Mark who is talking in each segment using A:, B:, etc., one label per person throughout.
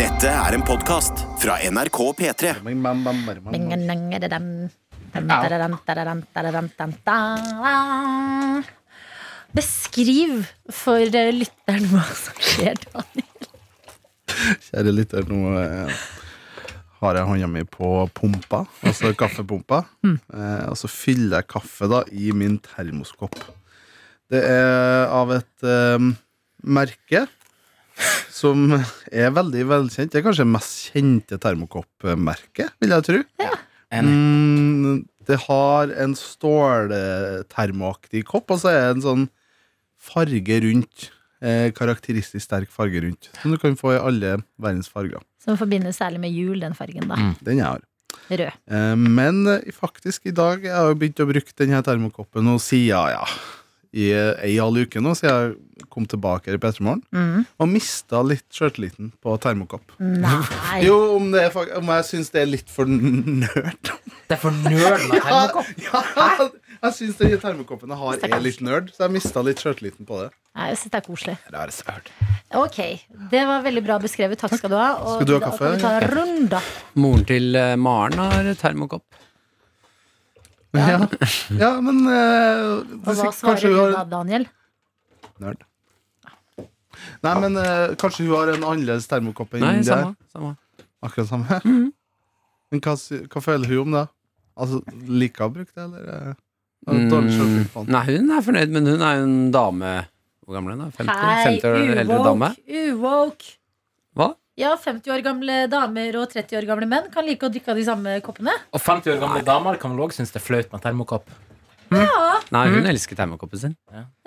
A: Dette er en podkast fra NRK P3.
B: Ding, ding, dadadam. Dam, dadadam, dadadam, dadadam, dam, da. Beskriv for eh, lytteren hva som skjer, Daniel.
C: Kjære lytter, nå eh, har jeg hånda mi på pumpa, altså kaffepumpa. Eh, og så fyller jeg kaffe da i min termoskopp. Det er av et eh, merke som er veldig velkjent. Det er kanskje det mest kjente termokoppmerket, vil jeg tro. Mm, det har en ståltermoaktig kopp, og så er det en sånn farge rundt. Eh, karakteristisk sterk farge rundt, som du kan få i alle verdens farger.
B: Som forbindes særlig med jul, den fargen, da.
C: Den jeg har.
B: Rød.
C: Eh, men eh, faktisk, i dag jeg har jeg begynt å bruke denne termokoppen og siden ja, i eh, ei halv uke nå, siden jeg kom tilbake her i Petremorgen,
B: Mm.
C: og mista litt sjøltilliten på termokopp.
B: Nei.
C: Jo, om, det er, fak- om jeg syns det er litt for nerd.
D: Det er for nerd med termokopp.
C: Ja, ja, jeg syns denne termokoppen jeg har, er litt nerd, så jeg mista litt sjøltilliten på det.
B: Nei, jeg synes det er koselig.
C: Rar søl.
B: Ok, det var veldig bra beskrevet. Takk skal du ha. Og
C: Skal du ha
B: da
C: kaffe,
B: kan vi ta en runde, da.
D: Moren til eh, Maren har termokopp.
C: Ja. ja, men eh,
B: Og hva
C: sikkert-
B: svarer
C: kanskje
B: du
C: hun har
B: da, Daniel?
C: Nerd. Nei, men eh, kanskje hun har en annerledes termokopp enn
D: Nei,
C: det her.
D: samme. Mhm. samme.
C: Akkurat samme. Men hva, sy- hva føler hun om det? Altså, Liker hun å bruke det, eller? eh, har hun dårlig
D: Mm,
C: selvtillit på den?
D: nei, hun er fornøyd, men hun er jo en dame Hvor gammel er hun? da? 50, 50 år eldre dame?
B: uwoke, uwoke.
D: Hva?
B: Ja, 50 år gamle damer og 30 år gamle menn kan like å drikke av de samme koppene.
E: Og 50 år gamle damer kan vel òg synes det er flaut med termokopp.
D: Nei, hun elsker termokoppen sin.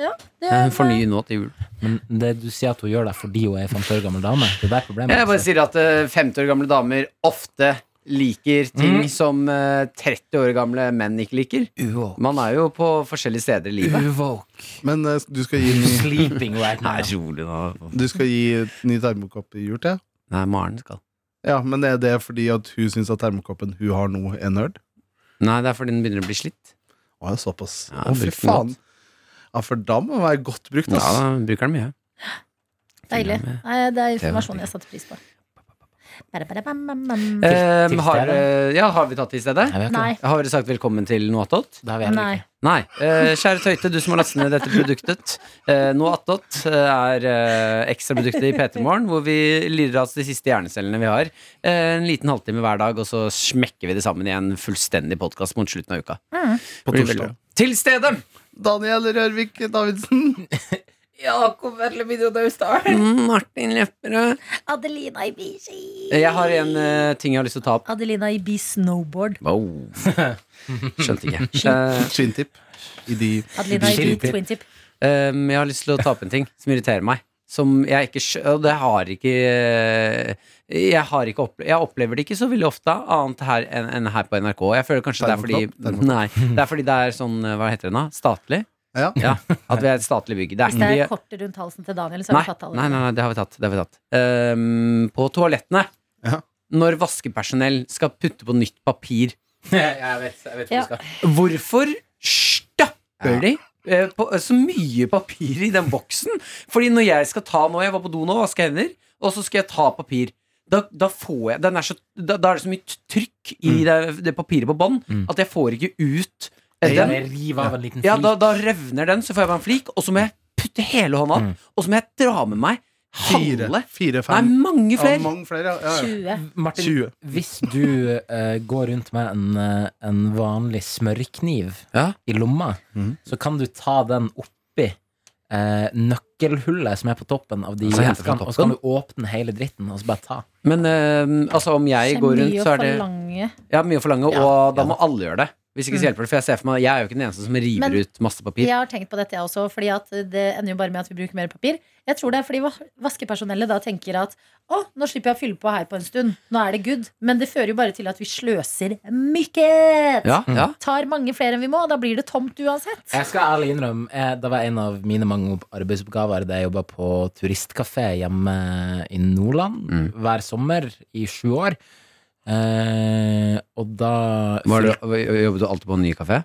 B: Det
D: Hun
B: er-
D: får ny nå til jul.
E: Men det du sier at hun gjør det fordi hun er 50 år gammel dame, det er der problemet
D: Jeg bare sier at eh, 50 år gamle damer ofte liker ting som eh, 30 år gamle menn ikke liker.
E: Uvåk.
D: Man er jo på forskjellige steder i livet.
E: Uvåk.
C: Men eh, du skal gi ny,
E: Sleeping right now.
D: rolig nå.
C: du skal gi ny termokopp i jul til?
D: Nei, Maren skal.
C: Ja, men er det fordi at hun syns at termokoppen hun har nå, er nerd?
D: Nei, det er fordi den begynner å bli slitt.
C: Å, ja, såpass.
D: Ja,
C: Å, fy
D: bruk den godt.
C: faen. Ja, for da må den være godt brukt,
D: Ja,
C: ass.
D: da bruker den mye.
B: Deilig. Nei, det er informasjon
D: Det
B: jeg satte pris på. Bare, bare, bam, bam, bam.
D: Eh,
E: Tips
D: har,
E: til dere?
D: eh, ja, har vi tatt det i
E: Nei,
D: stedet?
E: vi har ikke
B: Nei.
E: det.
D: Har dere sagt velkommen til noe attåt?
E: Det har vi heller
B: Nei.
E: ikke.
D: Nei. Eh, kjære Tøyte, du som har lastet ned dette produktet. Eh, noe attåt eh, er eh, ekstraproduktet i PT Morgen, hvor vi lirer av oss de siste hjernecellene vi har. Eh, en liten halvtime hver dag, og så smekker vi det sammen i en fullstendig podkast mot slutten av uka.
C: På
D: Blir veldig
C: torsdag.
D: bra. Til stedet!
C: Daniel Rørvik Davidsen.
D: Mm, Martin Lepperød.
B: Adelina Ibici.
D: Jeg har en eh, ting jeg har lyst til å ta opp.
B: Adelina Ibi snowboard.
D: Wow. Skjønte ikke. Eh,
C: Skinntipp. I de
B: Adelina Ibi
E: Skiltip.
B: twintip.
D: Um, jeg har lyst til å ta opp en ting som irriterer meg. Som jeg ikke skjø- Og det har ikke eh, Jeg, har ikke opple jeg opplever det ikke så veldig ofte annet her enn enn her på NRK. Jeg føler kanskje det er
C: Termoknopp,
D: fordi Nei, det er fordi det er sånn eh, Hva heter det nå? Statlig?
C: Ja.
D: Ja, at vi er et statlig bygg. Det er
B: Hvis det er
D: ikke
B: kortet rundt halsen til Daniel, så
D: Nei,
B: har vi tatt alle.
D: nei, nei, nei, det har vi tatt. Det har vi tatt. Um, på toalettene,
C: Ja.
D: når vaskepersonell skal putte på nytt papir
E: jeg vet, jeg vet hvor
B: Ja.
E: vi skal.
D: Hvorfor stapper
E: Ja.
D: de eh, på, så mye papir i den boksen? Fordi når jeg skal ta nå, jeg var på do nå og vaska hender, og så skal jeg ta papir. Da, da, får jeg, den er så, da, da er det så mye t- trykk i det, det papiret på bånd
E: Mm.
D: at jeg får ikke ut eh,
E: Jeg
D: den.
E: river av en liten
D: Ja,
E: flik.
D: da, da revner den, så får jeg meg en flik, og så må jeg putte hele hånda opp,
E: Mm.
D: og så må jeg dra med meg halve.
C: fire, fire
D: Nei,
C: fem.
D: mange
C: Ja,
D: flere.
C: mange flere, ja. ja, ja.
B: 20.
E: Martin,
C: 20.
E: hvis du eh, går rundt med en, eh, en vanlig smørkniv
D: Ja.
E: i lomma,
C: Mhm.
E: så kan du ta den oppi eh, nøkkelhullet som er på toppen av de
D: Så hente fra
E: eskene, og så kan
D: Altså, toppen?
E: du åpne hele dritten og så bare ta.
D: Men eh, altså, om jeg går rundt, så er det
B: Lange.
D: Ja, mye å forlange,
E: Ja,
D: og da
E: ja.
D: må alle gjøre det. Hvis ikke så hjelper det, for jeg ser for meg Jeg er jo ikke den eneste som river
B: Men-
D: ut masse papir.
B: Jeg har tenkt på dette, jeg også, fordi at det ender jo bare med at vi bruker mer papir. Jeg tror det er fordi va- vaskepersonellet da tenker at å, nå slipper jeg å fylle på her på en stund. Nå er det good. Men det fører jo bare til at vi sløser mykket.
D: Ja, ja.
B: Tar mange flere enn vi må, og da blir det tomt uansett.
E: Jeg skal ærlig innrømme, jeg, det var en av mine mange opp- arbeidsoppgaver da jeg jobba på turistkafé hjemme i Nordland
D: Mm.
E: hver sommer i sju år. Eh, og da
D: Var det, jobbet du alltid på en ny kafé?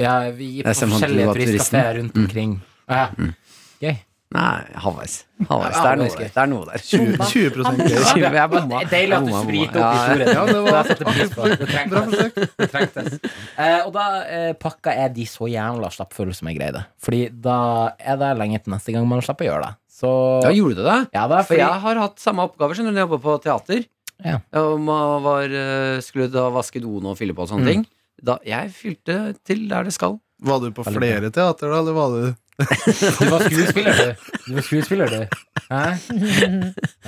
E: Ja, vi gikk
D: Jeg
E: på
D: stemmer han til
E: forskjellige
D: å være turisten. Mm.
E: turistkafeer rundt omkring. Ja. Gøy.
D: Nei, halvveis. halvveis. Det, er noe der. det er noe der.
C: 20, 20 gøy.
D: Tjue, jeg bomma.
E: Deilig at du
D: Jeg bomma,
E: spriter opp
D: bomma. Ja,
E: historien.
C: Ja, det var-
E: jeg setter pris på. Det trengtes.
C: Bra forsøk.
E: Det trengtes. Eh, og da eh, pakka jeg de så jævla stappfulle som jeg greide. Fordi da er det lenge til neste gang man slipper å gjøre det. Så
D: Ja, gjorde du det?
E: Ja, det er
D: For
E: fordi
D: jeg har hatt samme oppgaver skjønner du, når jeg jobba på teater.
E: Ja.
D: Og man var, eh, skulle da vaske doen og fylle på og sånne ting. Da, jeg fylte til der det skal.
C: Var du på flere teater, da, eller var du
E: Du var skuespiller, du. Du var skuespiller, du. Hæ?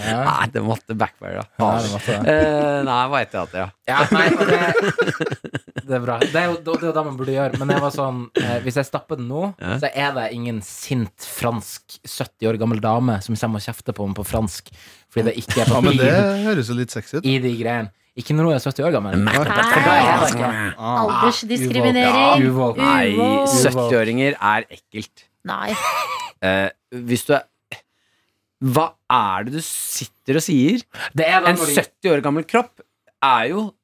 E: Ja.
D: Nei, det måtte backfire, da.
E: Ja, det var så-
D: Eh, nei, det var ett teater, ja.
E: Ja, nei, og det, det er bra. Det er jo det, er jo det man burde gjøre. Men jeg var sånn, eh, hvis jeg stapper den nå,
D: Ja.
E: så er det ingen sint fransk 70 år gammel dame som kommer og kjefter på meg på fransk fordi det ikke er
C: Ja, men
E: papir
C: det høres jo litt sexy ut.
E: i de greiene. Ikke når hun er 70 år gammel. For da er det
B: Nei.
E: ikke.
B: Aldersdiskriminering.
E: Uvåg. Ja, uvåg.
D: Nei,
B: Uvåg.
D: 70-åringer er ekkelt.
B: Nei.
D: Eh, hvis du er Hva er det du sitter og sier?
E: Det er da
D: En
E: når de-
D: 70 år gammel kropp er jo,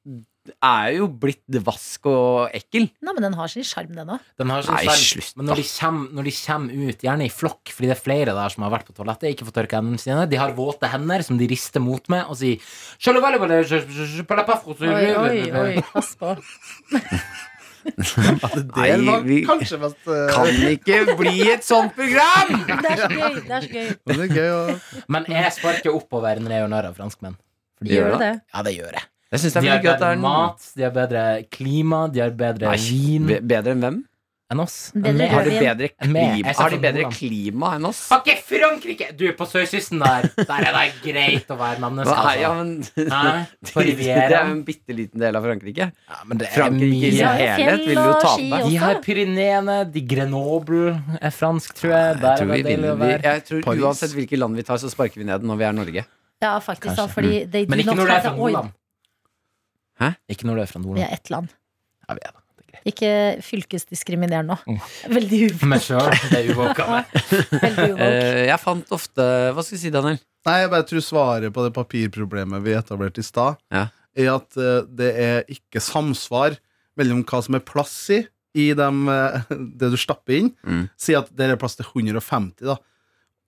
D: er jo blitt vask og ekkel.
B: Nei, men den har sin sjarm, den òg.
E: Den har sin
D: Nei,
E: sjarm.
D: slutt,
E: Men når de, kommer, når de kommer ut, gjerne i flokk, fordi det er flere der som har vært på toalettet, ikke fått tørka hendene sine, de har våte hender som de rister mot meg og sier «Je le valais, valais, je- je- je- par la paf,
B: Oi, oi, oi.
E: je-
B: Pass på.
D: Nei, vi
C: kanskje mest eh,
D: kan ikke bli et sånt program!
B: Det er så gøy. Det er så gøy.
C: Men det er gøy å
E: Men jeg sparker oppover når jeg gjør narr av franskmenn. Fordi-
B: Gjør du det?
E: Ja, det gjør jeg.
D: Jeg syns
E: De
D: det er
E: har
D: veldig gøy at det
E: bedre
D: er noen-
E: mat, de har bedre klima, de har bedre
D: Nei,
E: vin
D: be- Bedre enn hvem?
E: enn oss.
B: Bedre
E: Men-
D: Har de
B: Rødvin.
D: bedre
E: Med- jeg
D: klima,
E: ser
D: har de
E: for
D: bedre
E: Nordland.
D: klima enn oss?
E: Fuck, jeg, Frankrike! Du, på sørkysten der, der er det greit å være menneske.
D: Nei, ja,
E: Altså.
D: men
E: Hæ? På
D: Det er jo
E: Rivieraen.
D: en bitte liten del av Frankrike.
E: Ja, men det er
D: Frankrike i
E: mye-
D: sin
B: Ja, fjell
D: helhet vil jo
B: og ski
D: tape.
B: og-
E: De
B: også.
E: har Pyreneene, de Grenoble er fransk, tror jeg. Der
D: Jeg tror,
E: er
D: vi
E: det deilig å være.
D: vinner. jeg tror
C: Paris.
D: Uansett hvilke land vi tar, så sparker vi ned den når vi er Norge.
B: Ja, faktisk, da,
E: Kanskje.
B: fordi they do
E: Men ikke
B: not
E: når du er sånn
B: have
E: fra
B: the oil.
E: Nordland.
D: Hæ?
E: Ikke når du er fra
B: Vi
E: Nordland.
B: er ett land.
E: Ja, vi er det. det er greit.
B: Ikke fylkesdiskriminer nå. Veldig uvåk.
E: Men sjøl, det er uvåkende.
B: Veldig uvåk.
D: Eh, jeg fant ofte Hva skal vi si, Daniel?
C: Nei, jeg bare tror svaret på det papirproblemet vi etablerte i stad,
D: Ja.
C: er at eh, det er ikke samsvar mellom hva som er plass i, i dem, eh, det du stapper inn.
D: Mm.
C: Si at der er plass til 150, da.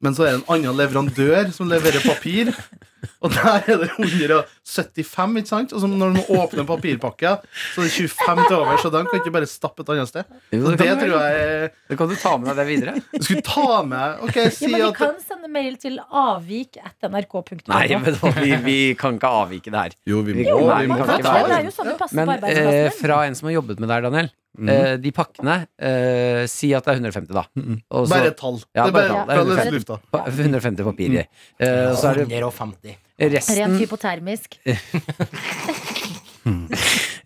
C: Men så er det en annen leverandør som leverer papir, og der er det 175, ikke sant? Og så når du må åpne papirpakka, så er det 25 til over, så den kan ikke bare stappe et annet sted.
D: Jo,
C: Så
D: det
C: det
D: kan du
C: tror jeg er-
D: Da kan du ta med deg det videre.
C: Du skulle ta med Ok,
B: Ja,
C: si
B: men vi
C: at
B: kan sende mail til avvik at nrk.no.
D: Nei, men da, vi, vi kan ikke avvike det her.
C: Jo, vi
D: Jo,
C: må,
D: nei,
C: vi
D: man
C: må ta
D: kan ikke være-
B: Det er
C: den.
B: jo sånn det passer
D: Men
B: på
D: eh,
B: arbeidsplassen.
D: fra en som har jobbet med det her, Daniel.
C: Mm.
D: Eh, de pakkene eh, Si at det er 150, da. Og så-
C: Bare Mm. et tall.
D: Ja,
C: det er bare,
D: bare
C: ja,
D: et
C: det
D: tall.
C: er løs i lufta.
D: pa- 150 papirer. Eh, og så er det
E: 150.
B: Rent
D: resten
B: hypotermisk.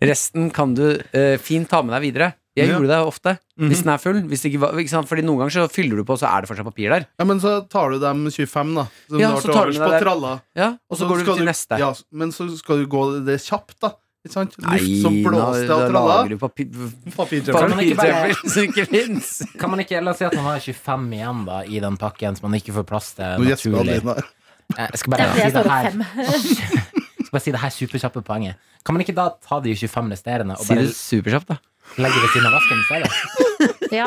D: Resten kan du eh, fint ta med deg videre. Jeg
C: Ja. Mm-hmm.
D: gjorde det ofte. Hvis den er full. Hvis det ikke var, ikke sant? Fordi noen ganger så fyller du på, så er det fortsatt papir der.
C: Ja, men så tar du dem 25, da. Som
D: Ja,
C: du har
D: så
C: til
D: tar du
C: overs
D: med
C: på
D: deg der.
C: tralla.
D: Ja, og så går du
C: skal
D: til neste.
C: Ja, men så skal du gå det kjapt, da. Ikke sant?
D: Nei,
C: Luft som
D: da-
C: blåser
D: da
C: av tralla.
D: lager du papir...
C: Papirtømmer.
E: man ikke bare-
D: Papirtøfler som ikke fins.
E: Kan man ikke, La oss si at man har 25 igjen da i den pakken, som man ikke får plass til.
C: Nå gjesper
E: naturlig.
C: Adeline her.
E: Eh, Jeg
B: Det
E: skal bare
B: er fordi
E: si
B: jeg
E: det
B: står opp
E: her
B: fem.
E: Skal bare si det her superkjappe poenget. Kan man ikke da ta de 25 resterende og
D: Si
E: bare
D: det superkjapt, da.
E: legge det ved siden av vasken i stedet?
B: Ja,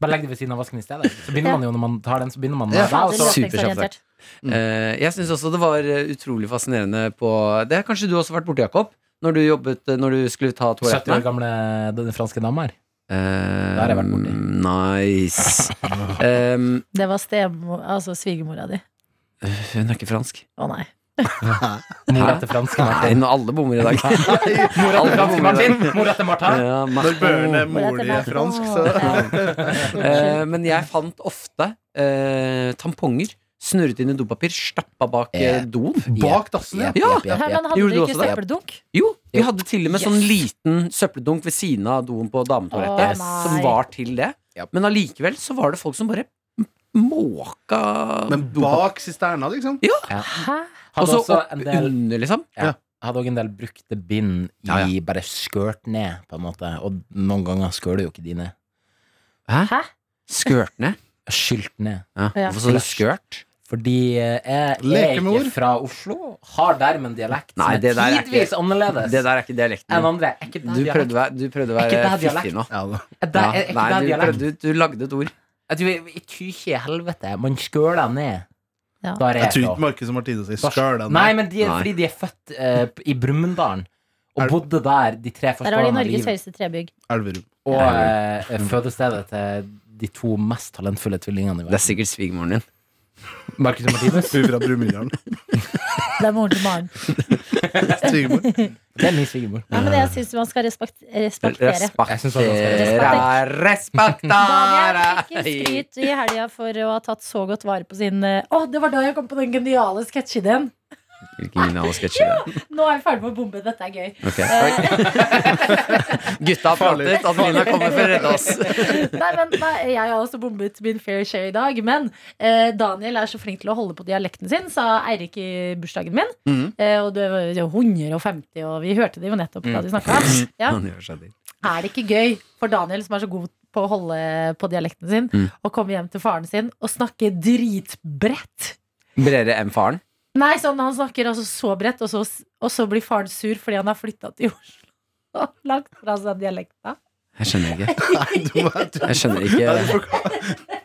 E: Bare legg det ved siden av vasken i stedet. Så begynner man jo når man tar den, så begynner man med
C: Ja.
E: det. Og
B: fader,
E: så
B: løsningsorientert.
D: Eh, jeg syns også det var eh, utrolig fascinerende på Det har kanskje du også vært borti, Jakob? Når du jobbet eh, Når du skulle ta
E: 70 år
D: toalettene?
E: gamle den franske dama her.
D: Eh,
E: har jeg vært borti.
D: Nice. Em,
B: Det var stemor, altså svigermora di.
D: hun er ikke fransk.
B: Å nei.
E: Mora til franske
D: Nei,
E: Martin.
D: nå alle bommer i dag.
E: Mora til franske Martin! Mora til Martha!
D: Ja,
C: Når børn er
D: Martin.
C: mor di er fransk, så
D: Eh, men jeg fant ofte eh, tamponger snurret inn i dopapir, stappa bak eh, doen.
C: Bak dassen, ja.
E: Jepp, jepp, jepp, jepp.
B: Herman, hadde
D: Gjorde
B: du
D: du
B: ikke
D: også det?
B: søppeldunk?
D: Jo, vi hadde til og med sånn
E: Yes.
D: liten søppeldunk ved siden av doen på
B: Å,
D: dametoalettet.
B: nei.
D: som var til det.
E: Japp.
D: Men allikevel så var det folk som bare m- måka
C: Men bak sisterna, liksom.
B: Hæ?
D: Og
E: Hadde
D: så
E: også
D: opp
E: en del
D: under, liksom.
E: hadde også en del brukte bind i
D: Ja, ja.
E: bare skørt ned, på en måte. Og noen ganger skøler jo ikke de ned.
B: Hæ?
D: Skørt ned.
E: Skylt ned.
D: Ja.
B: Ja.
D: Hvorfor sa du skørt?
E: Fordi eh, jeg er
C: Leke med
E: ikke
C: ord.
E: fra Oslo, har dermed en dialekt som
D: Nei,
E: er
D: det der er
E: tidvis annerledes
D: Det der er ikke dialekten
E: enn
D: din.
E: andre. Er ikke det
D: Du prøvde å
E: dialekt?
D: være- du prøvde å
E: Er ikke
D: være
E: det dialekt?
D: fiffig nå.
C: Ja, da.
E: Er det,
D: Ja.
E: er ikke
D: Nei,
E: det
D: du,
E: dialekt?
D: prøvde, du, du lagde et ord.
E: Jeg tror vi tyr ikke i helvete. Man skøler ned.
B: Ja.
E: Da er
C: Jeg tror
E: da.
C: ikke Marcus og Martine sier skøl den.
E: Nei, men de er,
D: Nei.
E: fordi de er født eh, p- i Brumunddalen. Og
C: Er-
E: bodde der de tre første
B: Der har de
E: årene av
B: Norges
E: livet.
B: høyeste trebygg.
C: Elverum.
E: Og eh, fødestedet til de to mest talentfulle tvillingene i
D: Det er
E: verden.
D: sikkert svigermoren din.
E: Marcus og Martinus.
C: Hun fra Brumunddal.
B: Det er moren til Maren.
C: Svigermor.
E: Det er min svigermor.
B: Ja, men jeg syns man skal respekt, respektere.
E: Jeg synes også
B: Daniel
E: man
D: Respektere
B: fikk
D: Respektere
B: skryt i helga for å ha tatt så godt vare på sin eh, Å, det var da jeg kom på den geniale sketsjideen!
D: Hvilken genial sketsj er det?
B: Nå er vi ferdig med å bombe, dette er gøy.
D: Ok. Gutta har pratet, Adelina kommer for å redde oss.
B: Nei, men nei, Jeg har også bombet min fair share i dag. Men eh, Daniel er så flink til å holde på dialekten sin, sa Eirik i bursdagen min. Eh, og det var jo 150, og vi hørte det jo nettopp da de snakka. Ja.
D: Han gjør seg til.
B: Er det ikke gøy for Daniel, som er så god på å holde på dialekten sin,
D: Mm.
B: å komme hjem til faren sin og snakke dritbredt?
D: Bredere enn faren?
B: Nei, sånn han snakker altså så bredt, og så, og så blir faren sur fordi han har flytta til Oslo. Og lagt fra seg dialekta.
D: Jeg skjønner ikke.
C: Jeg tror
D: Jeg skjønner ikke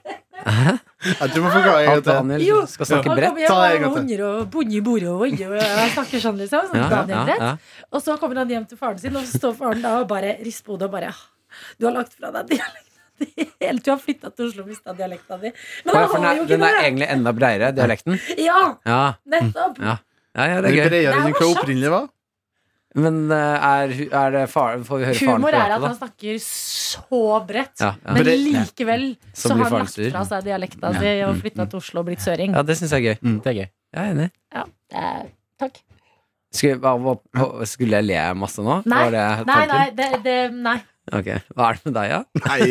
C: jeg tror jeg må forklare en gang
D: at
C: til.
B: Jo.
D: Daniel skal snakke
B: Han
D: bredt.
B: kommer hjem
C: Ta en gang
B: og har
C: til.
B: hunder og bonde i bordet og oi, og jeg snakker sånn, liksom. Sånn,
D: Ja, ja,
B: Daniel
D: ja,
B: Brett.
D: ja.
B: Og så kommer han hjem til faren sin, og så står faren da og bare rister på hodet og bare «Ah, Du har lagt fra deg dialekta di. Hele tiden har flytta til Oslo og mista dialekta di. Men
D: Ja,
B: han
D: for den
B: har
D: er,
B: jo
D: den
B: ikke
D: er
B: det!
D: egentlig enda bredere, dialekten.
B: Ja,
D: Ja,
B: nettopp.
D: Mm. ja. ja, ja det
C: Den er
D: er gøy.
C: bredere enn
B: Det er
C: hva
B: morsomt.
C: opprinnelig var.
D: Men eh, er, hu- er det faren Får vi høre faren
B: Humor er
D: prate,
B: at
D: da?
B: han snakker så bredt.
D: Ja, ja.
B: Men
C: Bre-
B: likevel
D: Så
B: så
D: blir
B: har han
D: faren
B: lagt
D: sur.
B: fra seg dialekta si
D: Ja. Mm.
B: og flytta til Oslo og blitt søring.
D: Ja, det syns jeg er gøy.
E: Det er gøy.
D: Jeg er enig.
B: Eh, Takk.
D: Skulle, hva, hva, skulle jeg le masse nå?
B: Nei,
D: Var det
B: Nei,
D: tanken?
B: nei, det, det, nei.
D: Ok, Hva er det med deg, da?
C: Nei,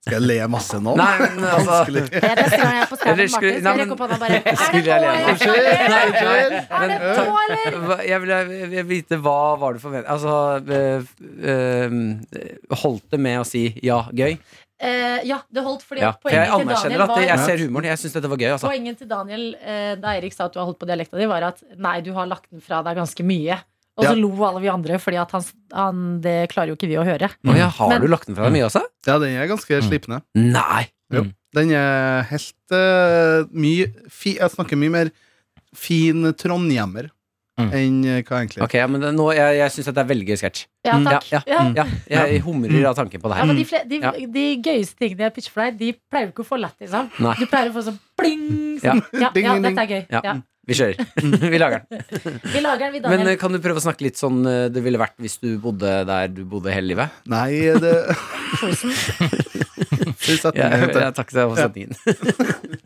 C: skal jeg le masse nå?
D: Nei, men altså
C: Vanskelig.
B: Det er neste gang jeg er på Stjernen Martin,
D: Eller skulle- nei,
B: skal jeg
D: men-
B: rekke opp hånda og bare Er det nå,
D: Skulle jeg le
B: eller?
C: Unnskyld, nei,
B: Er
D: Men, eh,
B: det nå,
D: ta-
B: eller?
D: hva- jeg vil, jeg vil vite hva var det for men- Altså eh, eh, Holdt det med å si ja, gøy?
B: Eh, ja, det holdt, fordi
D: Ja.
B: at
D: For jeg
B: poenget til
D: anerkjenner
B: Daniel
D: at det, jeg
B: var
D: ser humoren. Jeg syns dette var gøy. Altså.
B: Poenget til Daniel eh, da Eirik sa at du har holdt på dialekta di, var at nei, du har lagt den fra deg ganske mye. Og så
C: Ja.
B: lo alle vi andre, fordi at han, han, det klarer jo ikke vi å høre.
D: Å ja, har
B: Men-
D: du lagt den fra deg mye også?
C: Ja, den er ganske slipende.
D: Nei!
C: Den er helt eh, mye fi, Jeg snakker mye mer fin trondhjemmer
E: Mm.
C: enn eh, hva egentlig
D: Ok, men det, nå, Jeg, jeg syns dette er veldig gøy sketsj.
B: Ja,
C: Mm.
B: takk.
D: Ja,
B: Ja.
D: Ja, jeg humrer av tanken på
B: Ja,
D: det her. Mm.
B: men de, fle- de,
D: Ja.
B: de gøyeste tingene jeg pitcher for deg, de pleier du ikke å få lættis av.
D: Nei. Mm.
B: Du pleier å få sånn pling!
D: Ja.
B: Sånn. Ja,
C: Ding,
B: ja,
C: ding, ding.
B: dette er gøy.
D: Ja.
B: Ja.
D: Vi kjører. Vi lager den.
B: Vi lager den, vi,
D: Men
B: Daniel.
D: eh, kan du prøve å snakke litt sånn eh, det ville vært hvis du bodde der du bodde hele livet?
C: Nei, det Fy
D: Jeg,
C: setningen,
D: jeg,
C: heter det.
D: takker deg for setningen.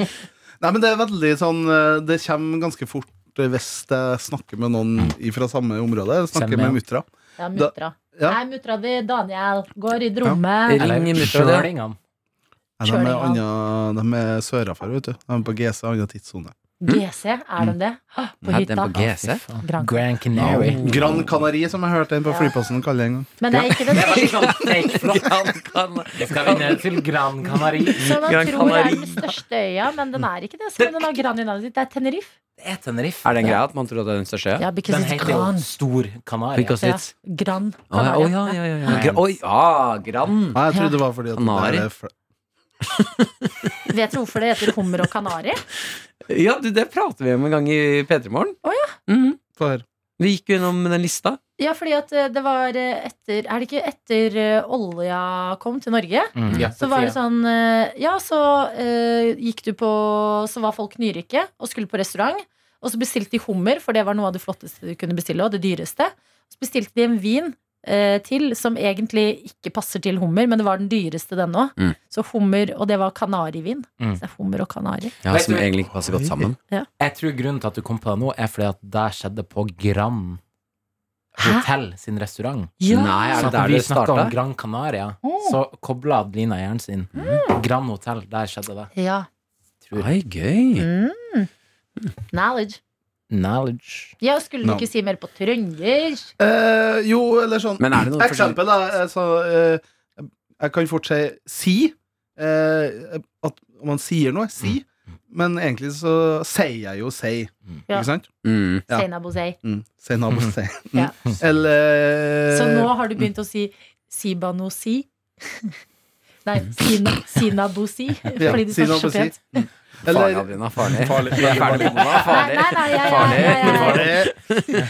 C: Nei, men det er veldig sånn eh, Det kommer ganske fort eh, hvis jeg snakker med noen fra samme område. Jeg
E: Samme,
C: snakker med muttra.
B: ja, mutra.
C: Ja.
B: Nei, mutra di, Daniel, går og rydder rommet.
D: Ring i
E: Eller
D: mutter, det.
E: sjølingene.
C: Nei, de er,
B: Kjøring,
C: andre, de er sørafor, vet du. De er på GC, annen tidssone.
B: GC, er de det? Hå, På
D: Nei, den
B: hytta.
D: på GC.
B: Gran-
E: Grand Canary.
C: Gran Canari, som jeg hørte en på flyplassen kalle det en gang.
B: Men det er ikke det. det er ikke
D: Gran Canaria.
E: Vi skal vi ned til Gran Canary.
B: Som
C: Sånn.
B: man
D: Gran
B: tror er
D: Canaria.
B: den største øya, men den er ikke det. Selv om den har gran i navnet sitt. Det er Tenerife.
E: Det er Tenerife.
D: Er det en greie at man tror at det er den største?
B: Ja, because
E: Den
B: it's
E: heter jo
B: gran.
E: Stor Canaria.
D: Because it's
B: Ja, Gran
D: Å ja,
B: Canaria.
D: å, ja, ja, ja, ja.
E: Nei.
D: Gra- Oi, ah, Gran.
C: Nei, jeg trodde det var fordi at
D: Canari?
C: det er fl-
B: Vet du hvorfor det heter hummer og kanari?
D: Ja, du, det prater vi om en gang i P3 Morgen. Mhm.
B: Å,
C: Få høre.
D: Vi gikk jo gjennom den lista.
B: Ja, fordi at eh, det var eh, etter Er det ikke etter eh, olja kom til Norge?
E: Mm.
B: Så var det sånn eh, Ja, så eh, gikk du på Så var folk nyrike og skulle på restaurant. Og så bestilte de hummer, for det var noe av det flotteste du kunne bestille. Og det dyreste. Så bestilte de en vin eh, til som egentlig ikke passer til hummer, men det var den dyreste, den òg.
D: Mm.
B: Så hummer Og det var kanarivin.
E: Mm.
B: Så det er hummer og kanari.
D: Ja,
E: Vet
D: som
E: du-
D: egentlig ikke passer godt sammen.
E: Jeg tror grunnen til at du kom på det nå, er fordi at det skjedde på Gran
B: Hæ?
E: Hotell sin restaurant.
D: Nei, er
E: Så
D: det
E: at
D: der
E: vi
D: det
E: snakka om
D: starta?
E: Gran Canaria,
B: Mm.
E: så kobla Adelina hjernen sin.
C: Mm.
E: Gran Hotell, der skjedde det.
B: Ja.
E: Tror.
D: Oi, gøy.
B: Mm. Knowledge.
E: Knowledge.
B: Ja, skulle du
C: Nå.
B: ikke si mer på trøndersk?
C: Eh, jo, eller sånn
D: Men er det noen
C: Eksempel, da. eh, Så, eh, jeg kan fort si si. eh, at om man sier noe, si.
B: Mm.
C: Men egentlig så sier jeg jo si.
B: Ja.
C: Ikke sant?
D: Mm.
C: Ja.
B: Seina Bosei.
C: Mm. Si nabo, si.
B: Ja.
C: Eller Eh,
B: Så nå har du begynt å si Sibanosi. Nei, Sina, Sina Bosi.
C: Ja,
B: Fordi du
C: si noe
B: snakker så
C: på si.
B: pent.
C: Mm.
D: Farlig,
C: Eller,
D: Adelina. Farlig.
C: Farlig.
D: Vi er ferdig med Ola.
B: Nei,
D: Farlig.
B: nei, nei, jeg, jeg,
D: Farlig.
B: jeg, jeg, jeg.
C: Farlig.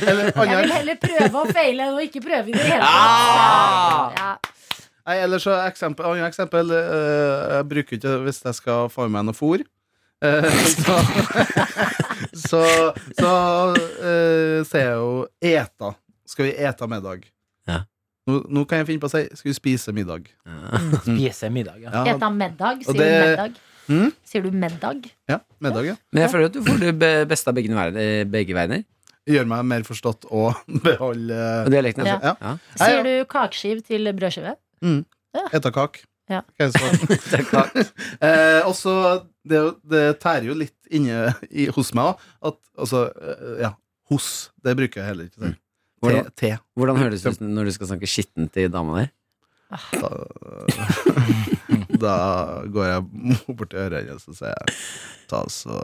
C: eller,
B: jeg vil
C: andre,
B: heller prøve å feile enn å ikke prøve i det hele
D: Ah!
B: tatt. Ja.
C: nei, eller så eksempel, andre eksempel eh, Jeg bruker ikke hvis jeg skal få i meg noe fôr. Eh, så så, så eh, sier jeg jo eta. Skal vi eta middag?
D: Ja.
C: Nå, nå kan jeg finne på å si skal vi spise middag.
E: Spise middag, ja.
C: Ja,
B: Eta middag,
C: Og
B: sier du
C: det-
B: middag?
C: Mm?
B: Sier du middag?
C: ja middag, ja.
D: Men jeg føler at du får det be- beste av begge, ver- eh, begge verdener.
C: Gjør meg mer forstått og beholde
D: Og dialekten,
B: Ja.
D: altså. Ja.
B: Sier du kakeskiv til brødskive?
C: Eta kak.
B: Ja.
C: Hva er det som-
D: Det er klart.
C: Eh, og så det, er jo- det tærer jo litt inne i, hos meg òg. At altså eh, Ja, hos. Det bruker jeg heller ikke. til.
D: Hvordan,
C: Te. te.
D: hvordan høres det ut når du skal snakke skittent til dama di?
C: Da, da går jeg bort til øret hennes og sier ta så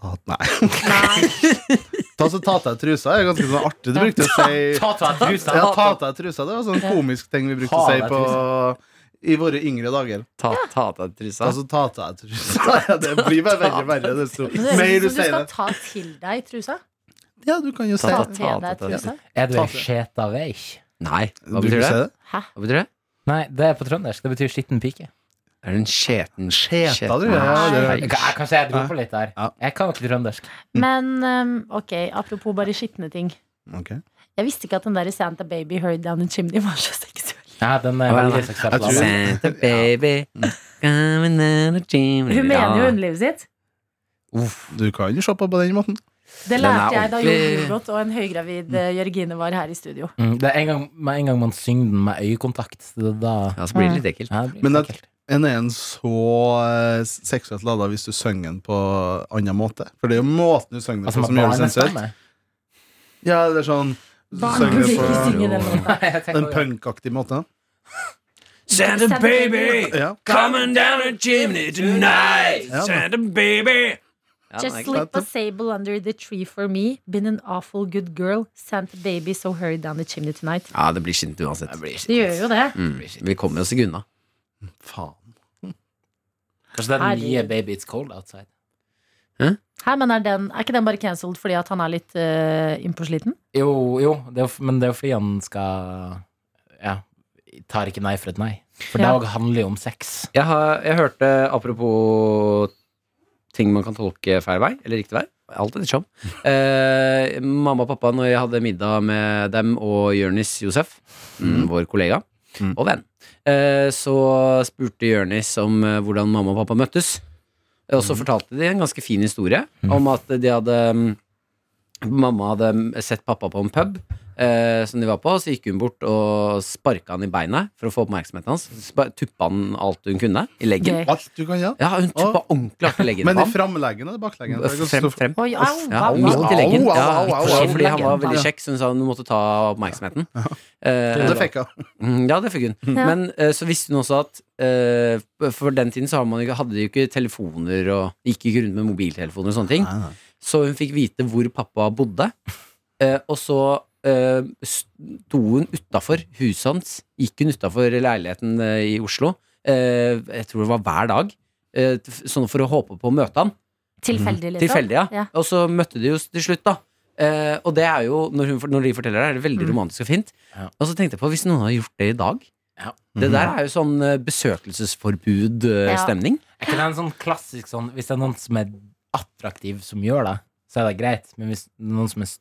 C: ta, Nei.
B: Nei.
C: Ta så ta av deg trusa. Det er ganske sånn artig. Du brukte å si
E: Ta ta trusa.
C: ja, ta av deg trusa. Det var sånn komisk ting vi brukte å
E: Ta
C: si
E: deg
C: på i våre yngre dager.
D: Ta, ta av deg trusa.
C: Ta så ta av deg trusa. Ja, det blir bare verre og verre. desto
B: Men det
C: mer
B: høres
C: du
B: ut som du
C: sier
B: skal
C: det.
B: ta til deg trusa.
C: Ja, du kan jo si
B: Ta
C: det.
D: Ta-
B: til deg
D: ta- ta-
B: trusa.
E: Er du
C: Ta
E: ei
C: til.
E: skjeta veik?
D: Nei, hva
C: Bruker
D: betyr
C: du
D: det?
C: si
B: Hæ?
D: Hva betyr det?
E: Nei, det er på trøndersk. Det betyr skitten pike.
D: Er det en skjeten
C: Skjeta, du. Ja,
B: Nei.
C: det
E: Jeg,
C: er-
E: jeg, kan si jeg dro på litt der.
C: Ja.
E: Jeg kan jo ikke trøndersk.
B: Men ehm, ok, apropos bare skitne ting.
C: Ok.
B: Jeg visste ikke at den der Santa Baby Hurry Down the Chimney var så seksuell.
E: Ja, den er
D: Ja,
E: veldig
D: nei.
E: seksuell.
C: Jeg tror-
E: altså.
D: Santa baby coming out of chimney.
B: Hun mener jo
D: Ja.
B: underlivet sitt.
C: Du kan jo se på på den måten.
B: Det
D: Den er
B: lærte jeg da Jon
D: ordentlig-
B: Julebrot og en høygravid eh, Jørgine var her i studio.
E: Mm, Det er en gang, med en gang man synger den med øyekontakt, så da
D: Ja, så blir det litt ekkelt.
E: ja, det blir
C: Men
E: litt
C: at-
E: ekkelt.
C: En er en så eh, seksuelt lada hvis du synger den på annen måte. For det er jo måten du synger den
E: Altså,
D: Sånn
C: på
E: man
C: som gjør det sensuelt.
E: barnestemme.
C: Ja, det er sånn du
B: Barn burde
C: synger
B: ikke
C: på
B: synge den låta.
E: Nei, jeg tenker
C: den
E: også-
C: punkaktige måten.
D: Santa baby
C: Ja.
D: coming down the chimney tonight.
C: Ja, da.
D: Santa baby. Ja, den er
B: Just
D: ikke-
B: slip a sable under the tree for me. Been an awful good girl. Santa baby, so hurry down the chimney tonight.
D: ja, det blir skittent uansett.
B: Det gjør jo det.
D: Mm. Vi kommer oss ikke unna.
C: Faen.
E: Kanskje det er den nye
B: Herregud.
E: Baby It's Cold Outside.
B: Her, men er, den, er ikke den bare cancelled fordi at han er litt uh, innpåsliten?
E: Jo, jo, det er, jo- men det er jo fordi han skal Ja, tar ikke nei for et nei. For
B: Ja.
E: det òg handler jo om sex.
D: Jeg, har, jeg hørte, apropos ting man kan tolke feil vei, eller riktig vei Alt etter som. Eh, mamma og pappa, når jeg hadde middag med dem og Jørnis Josef, mm. vår kollega
C: Mm.
D: og venn, eh, så spurte Jørnis om eh, hvordan mamma og pappa møttes. Og
C: Mm.
D: så fortalte de en ganske fin historie om at de hadde mm, Mamma hadde mm, sett pappa på en pub eh, som de var på, så gikk hun bort og sparka han i beinet for å få oppmerksomheten hans. Spa- Tuppa han alt hun kunne i leggen.
B: Gøy.
C: Alt du kan gjøre.
D: Ja, hun tuppa ordentlig hardt i leggen
C: Men i
D: på ham.
C: framleggen eller bakleggen? Det er ganske
D: Frem,
C: stor-
D: frem.
B: Oi, au,
D: Ja,
B: au,
D: midt
B: au.
D: i leggen.
C: Au, au,
D: Ja,
C: au, au, au,
D: fordi han var
B: leggen.
D: veldig kjekk, så hun sa hun måtte ta oppmerksomheten.
C: Og
D: Eh,
C: det fikk jeg.
D: Mm, Ja, det fikk hun.
B: Ja.
D: Men eh, så visste hun også at eh, For den tiden så har man, jo ikke- hadde de jo ikke telefoner og gikk ikke rundt med mobiltelefoner og sånne ting. Så hun fikk vite hvor pappa bodde. Eh, og så eh, sto hun utafor huset hans. Gikk hun utafor leiligheten eh, i Oslo, eh, jeg tror det var hver dag, eh, t- sånn for å håpe på å møte han.
B: Tilfeldig, liksom.
D: Tilfeldig, ja.
B: Ja.
D: Og så møtte de jo til slutt, da. Eh, og det er jo, når, hun, når de forteller det, er det veldig
B: Mm.
D: romantisk og fint.
E: Ja.
D: Og så tenkte jeg på, hvis noen hadde gjort det i dag
E: Ja. Mhm.
D: Det der er jo sånn
B: Ja.
D: besøkelsesforbud-stemning.
E: Er ikke det en sånn klassisk sånn Hvis det er noen som er attraktiv som gjør det, så er det greit. Men hvis noen som er s-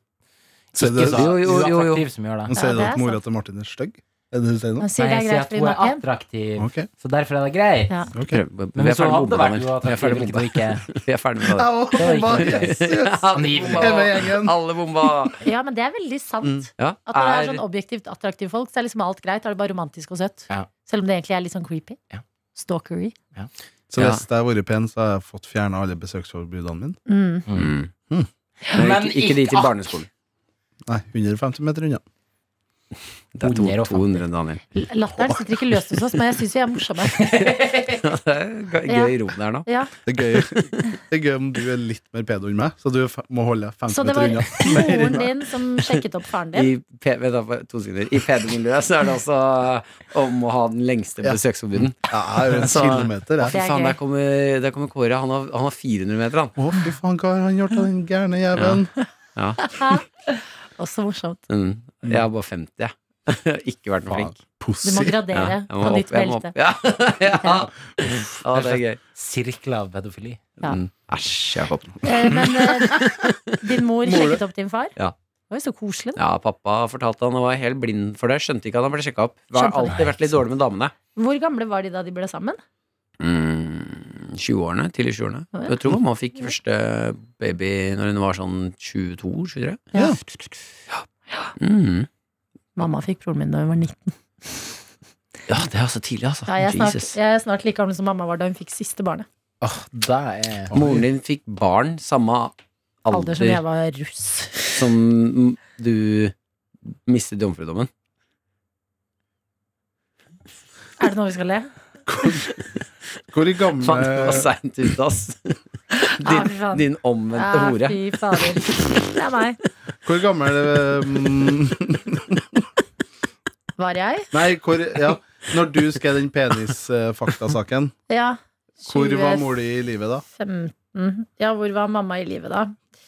C: Sier
E: ikke
C: du-
E: så
D: Jo, jo, jo, jo.
E: uattraktiv som gjør det
C: Sier du
B: Ja, det
C: at
B: er
C: mora
B: sant.
C: til Martin er stygg? Er det det du sier nå?
B: Han sier det
E: Nei, jeg
B: er
E: sier
B: greit
E: at
B: fordi
E: hun
B: hun er
E: er
B: pen.
E: attraktiv,
C: Ok.
E: så derfor er det greit.
B: Ja.
C: ok
D: Prøv- Vi
E: Men hvis hun
D: er ferdig med
E: hadde
D: bomba,
E: vært
D: Daniel. Vi er
E: uattraktiv,
D: ferdig med
E: hvilket
D: bomba.
E: hun ikke
D: Vi er ferdig med det.
C: Au,
E: Det var ikke
C: hva-
E: det.
C: yes, yes.
E: Angivelig.
C: Hele gjengen.
D: Alle bomba.
B: Ja, men det er veldig sant.
D: Ja,
B: At når det er
D: Mm. er-
B: sånn objektivt attraktive folk, så er liksom alt greit. Da er det bare romantisk og søtt.
E: Ja.
B: Selv om det egentlig er litt sånn creepy.
E: Ja.
B: Stalkery.
C: Så
D: Ja.
C: hvis jeg har vært pen, så har jeg fått fjerna alle besøksforbudene mine.
B: Mm.
D: Mm.
E: Men
D: Ikke, ikke de
E: ikke
D: til barneskolen.
C: Nei, 150 meter unna.
D: Det er to-
E: 150.
D: 200, Daniel.
B: Latteren sitter ikke løst hos oss, men jeg syns vi er morsomme.
D: Det er gøy- gøy rom der nå.
B: Ja.
C: Det er gøy, det er gøy om du er litt mer pedo enn meg, så du f- må holde deg 15
B: Så det
C: meter
B: var
C: unna.
B: moren din som sjekket opp faren din?
D: I, P- vent da, bare to sekunder. I PD-miljøet så er det altså om å ha den lengste
C: Ja.
D: besøksforbuden.
C: Ja, jeg er jo en
D: Så-
C: kilometer,
D: Fy
C: jeg.
B: er
D: faen,
B: gøy.
D: der kommer, der kommer Kåre. Han har, han har 400 meter, han.
C: Å, fy faen, hva har han gjort av den gærne jævelen?
D: Ja.
B: Også morsomt.
D: Mm. Jeg er bare 50, jeg. jeg. har Ikke vært noe
C: Faen,
D: flink.
B: Du må
C: pussy.
D: Ja,
B: gradere
D: jeg må
B: på
D: opp,
B: nytt
D: jeg må opp.
B: belte.
D: Ja. ja. ja, det er gøy.
E: Sirkler av pedofili.
B: Ja.
D: Mm. Æsj, Jakob.
B: Eh, Men eh, din mor sjekket opp din far?
D: Ja.
B: Det var jo så koselig, da.
D: Ja, pappa fortalte han og var helt blind for det. Skjønte ikke at han ble sjekka opp. Var
B: Skjønte han.
D: alltid vært litt dårlig med damene.
B: Hvor gamle var de da de ble sammen?
D: Mm, 20-årene, tidlig 20-årene.
B: Å, ja.
D: Jeg tror mamma fikk første baby når hun var sånn 22-23.
B: Ja.
D: Mm.
B: Mamma fikk broren min da hun var 19.
D: Ja, det er altså tidlig, altså.
B: Ja, jeg, er snart,
D: Jesus.
B: jeg er snart like gammel som mamma var da hun fikk siste barnet.
E: Det er
D: Moren din fikk barn samme alder,
B: Alder som jeg var russ.
D: som du mistet jomfrudommen.
B: Er det noe vi skal le?
C: Hvor i gamle
D: Faen, du var seint ute, ass.
B: Ah,
D: Din,
B: fy faen.
D: din omvendte
B: Ah,
D: hore.
B: fy fader. Det er meg.
C: Hvor gammel mm,
B: Var jeg?
C: Nei, hvor Ja, når du skrev den penisfaktasaken,
B: Ja.
C: hvor var mor di i livet da?
B: 2015. Ja, hvor var mamma i livet da?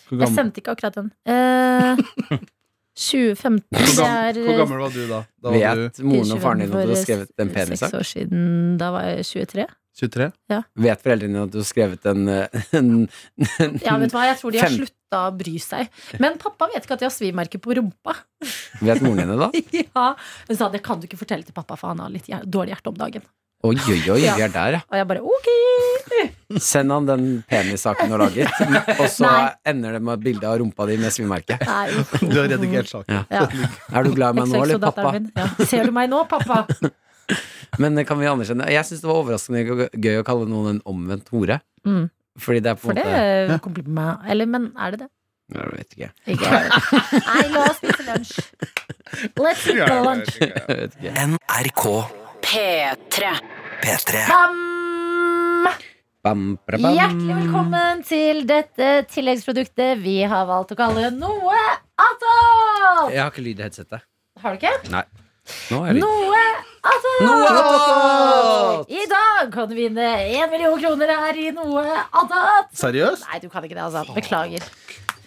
C: Hvor
B: Jeg
C: gammel,
B: sendte ikke akkurat den. Eh, 2015
C: hvor gammel, hvor
B: det er eh,
C: gammel var du da? Da var du
D: Vet moren og faren din at du har
B: for
D: skrevet en penis?
B: Seks
D: da?
B: år siden. Da var jeg 23.
C: 23?
D: Vet foreldrene dine at du har skrevet en, eh, en, en
B: Ja, vet du hva, jeg tror de har
D: Fem.
B: slutta å bry seg. Men pappa vet ikke at de har svimerker på rumpa.
D: Vet moren din det, da?
B: Ja, Hun sa det kan du ikke fortelle til pappa, for han har litt hjer- dårlig hjerte om dagen.
D: Oi, oi, oi,
B: Ja.
D: vi er der, ja.
B: Og jeg bare ok!
D: Send han den penissaken du har laget, og så
B: Nei.
D: ender det med et bilde av rumpa di med svimerke.
B: Nei, uff.
C: Du har redigert saken.
D: Ja.
B: Ja.
D: Er du glad i meg nå, eller pappa?
B: Min. Ja. Ser du meg nå, pappa?
D: Men kan vi anerkjenne Jeg syns det var overraskende gø- gøy å kalle noen en omvendt hore.
B: Mm.
D: Fordi det er på
B: For
D: en
B: det
D: måte
B: eh, kompliment meg. Eller, men er det det?
D: Jeg vet ikke.
B: Ikke. Nei, la oss spise lunsj. Let's eat the lunch.
D: Jeg vet ikke.
A: NRK
F: P3.
A: P3.
B: Bam!
D: Bam, pra, bam.
B: Hjertelig velkommen til dette tilleggsproduktet vi har valgt å kalle Noe attåt!
D: Jeg har ikke lyd i headsetet.
B: Har du ikke?
D: Nei. Nå er det
B: Noe attåt!
D: attåt!
B: I dag kan du vinne én million kroner her i Noe attåt!
C: Seriøst?
B: Nei, du kan ikke det, altså. Beklager.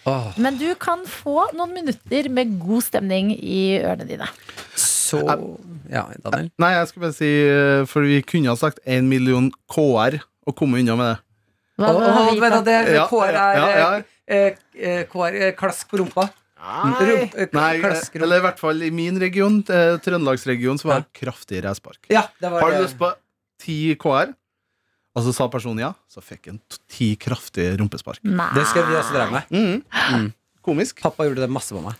D: Åh,
B: Men du kan få noen minutter med god stemning i ørene dine.
D: Så Ja, Daniel.
C: Nei, jeg skulle bare si eh, For vi kunne ha sagt 1 million KR og kommet unna med det.
B: Hva, hva har vi
D: Åh, vent
B: gitt
D: da,
B: da?
D: det er
C: Ja,
D: KR er
C: ja, ja.
D: eh, eh, KR eh, klask på rumpa. Rump- eh,
C: Nei, eh,
D: klask rumpa.
C: eller i hvert fall i min region, eh, Trøndelagsregionen, så var det kraftig reispark.
D: Ja, det var
C: Har du
D: det.
C: lyst på 10 KR? Og så Altså, sa personen ja, så fikk han t- ti kraftige rumpespark.
B: Nei.
D: Det skal vi også dreie med.
C: Komisk.
D: Pappa gjorde det masse på meg.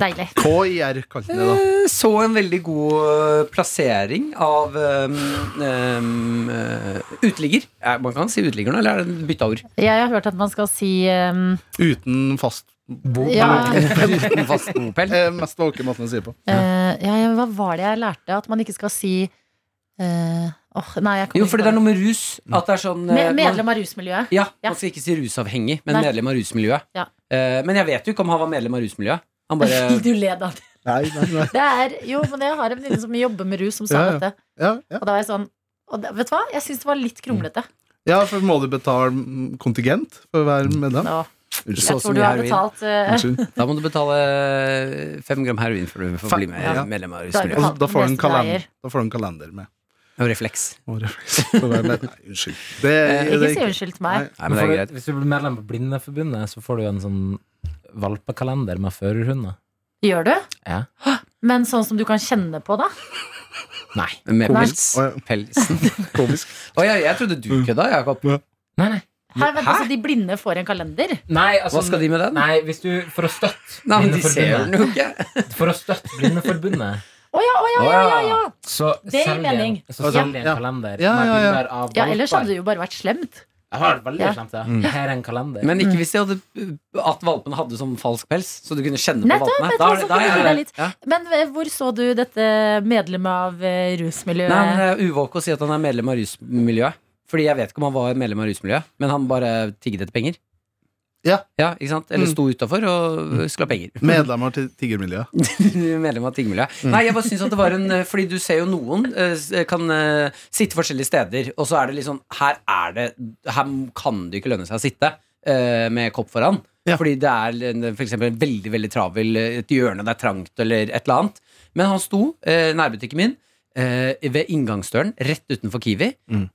B: Deilig.
C: KIR kalte han det, da.
D: Eh, Så en veldig god eh, plassering av um, um, eh, uteligger. Eh, Man kan si uteligger nå, eller er det bytta ord?
B: Jeg har hørt at man skal si um,
C: Uten fast
B: ja,
D: Uten fast bopel.
C: eh, Mest våken måten å si det på.
B: eh, ja, ja, hva var det jeg lærte? At man ikke skal si eh, åh, Nei, jeg kan
D: Jo, fordi det er noe med rus. At det er sånn eh,
B: Me-
D: man,
B: Medlem av rusmiljøet.
D: ja,
B: Ja.
D: man skal ikke si rusavhengig, men
B: Nei.
D: medlem av rusmiljøet.
B: Ja.
D: Eh, men jeg vet jo ikke om han var medlem av rusmiljøet. Han bare
B: Du led av det.
C: Nei, nei, nei.
B: Det er, jo, men jeg har en venninne som jobber med rus, som sa
C: Ja, ja.
B: dette.
C: Ja, ja.
B: Og da var jeg sånn og da, Vet du hva? Jeg syns det var litt kronglete.
C: ja, for må du betale mm, kontingent for å være medlem?
B: Nå,
D: så
B: Jeg
D: som
B: tror du
D: i
B: har
D: heroin.
B: betalt eh,
C: Unnskyld.
D: Da må du betale eh, fem gram heroin for å få
C: Fa-
D: bli med,
C: ja.
D: medlem av
B: Da er det
C: Og så-
D: rusmiljøet.
C: Altså, da får du en
B: Neste
C: kalender,
B: eier.
C: da får du en kalender med.
D: Og refleks.
C: Og refleks for å være med. Nei, unnskyld. Det,
B: Ikke
C: det,
B: si unnskyld til meg.
C: Nei.
D: Nei, men det er greit.
E: Hvis du blir medlem på Blindeforbundet, så får du en sånn valpekalender med førerhunder.
B: Gjør du?
E: Ja.
B: Men sånn som du kan kjenne på, da?
E: Nei.
D: Med
B: Nei.
D: pels.
C: Å,
D: Pelsen.
C: Komisk.
D: Å ja, jeg trodde du kødda, Jakob.
E: Nei, nei.
B: Her, vent,
D: Hæ?
B: altså, de blinde får en kalender?
E: nei altså,
D: Hva skal de med den?
E: Nei, hvis du For å støtte
D: Nei, men de ser den jo ikke.
E: For å støtte Blindeforbundet,
B: Å ja, å ja, ja, ja, ja.
E: så
B: Det gir
E: selger
B: mening.
E: Så selger de en kalender
C: Ja,
E: med
B: ja,
C: ja.
E: bilder av
B: ja! Ellers
E: valper.
B: hadde det jo bare vært slemt.
E: Jeg har veldig
B: Ja.
E: slemt det. Her er en kalender.
D: Men
B: Mm.
D: ikke hvis de hadde at valpene hadde sånn falsk pels, så du kunne kjenne
B: Nettopp,
D: på
B: jeg
D: valpene. Da
B: tror
D: er det-
B: også
D: da er
B: det
D: jeg-
B: er litt-
D: ja.
B: Men eh, hvor så du dette medlemmet av eh, rusmiljøet?
D: Nei, men Det er uvåk å si at han er medlem av rusmiljøet. Fordi jeg vet ikke om han var medlem av rusmiljøet, men han bare tigget etter penger.
C: Ja.
D: ikke sant?
B: Mm.
D: Eller sto utafor og skulle ha penger.
C: Medlemmer til tiggermiljøet.
D: medlem av tingmiljøet.
C: Mm.
D: Nei, jeg bare synes at det var en eh, Fordi du ser jo noen eh, s- kan eh, sitte forskjellige steder, og så er det litt sånn Her er det Her kan det ikke lønne seg å sitte eh, med kopp foran.
C: Ja.
D: Fordi det er en- for eksempel en veldig, veldig travel eh, et hjørne det er trangt, eller et eller annet. Men han sto eh, nærbutikken min. eh, ved inngangsdøren, rett utenfor Kiwi.
C: Mm.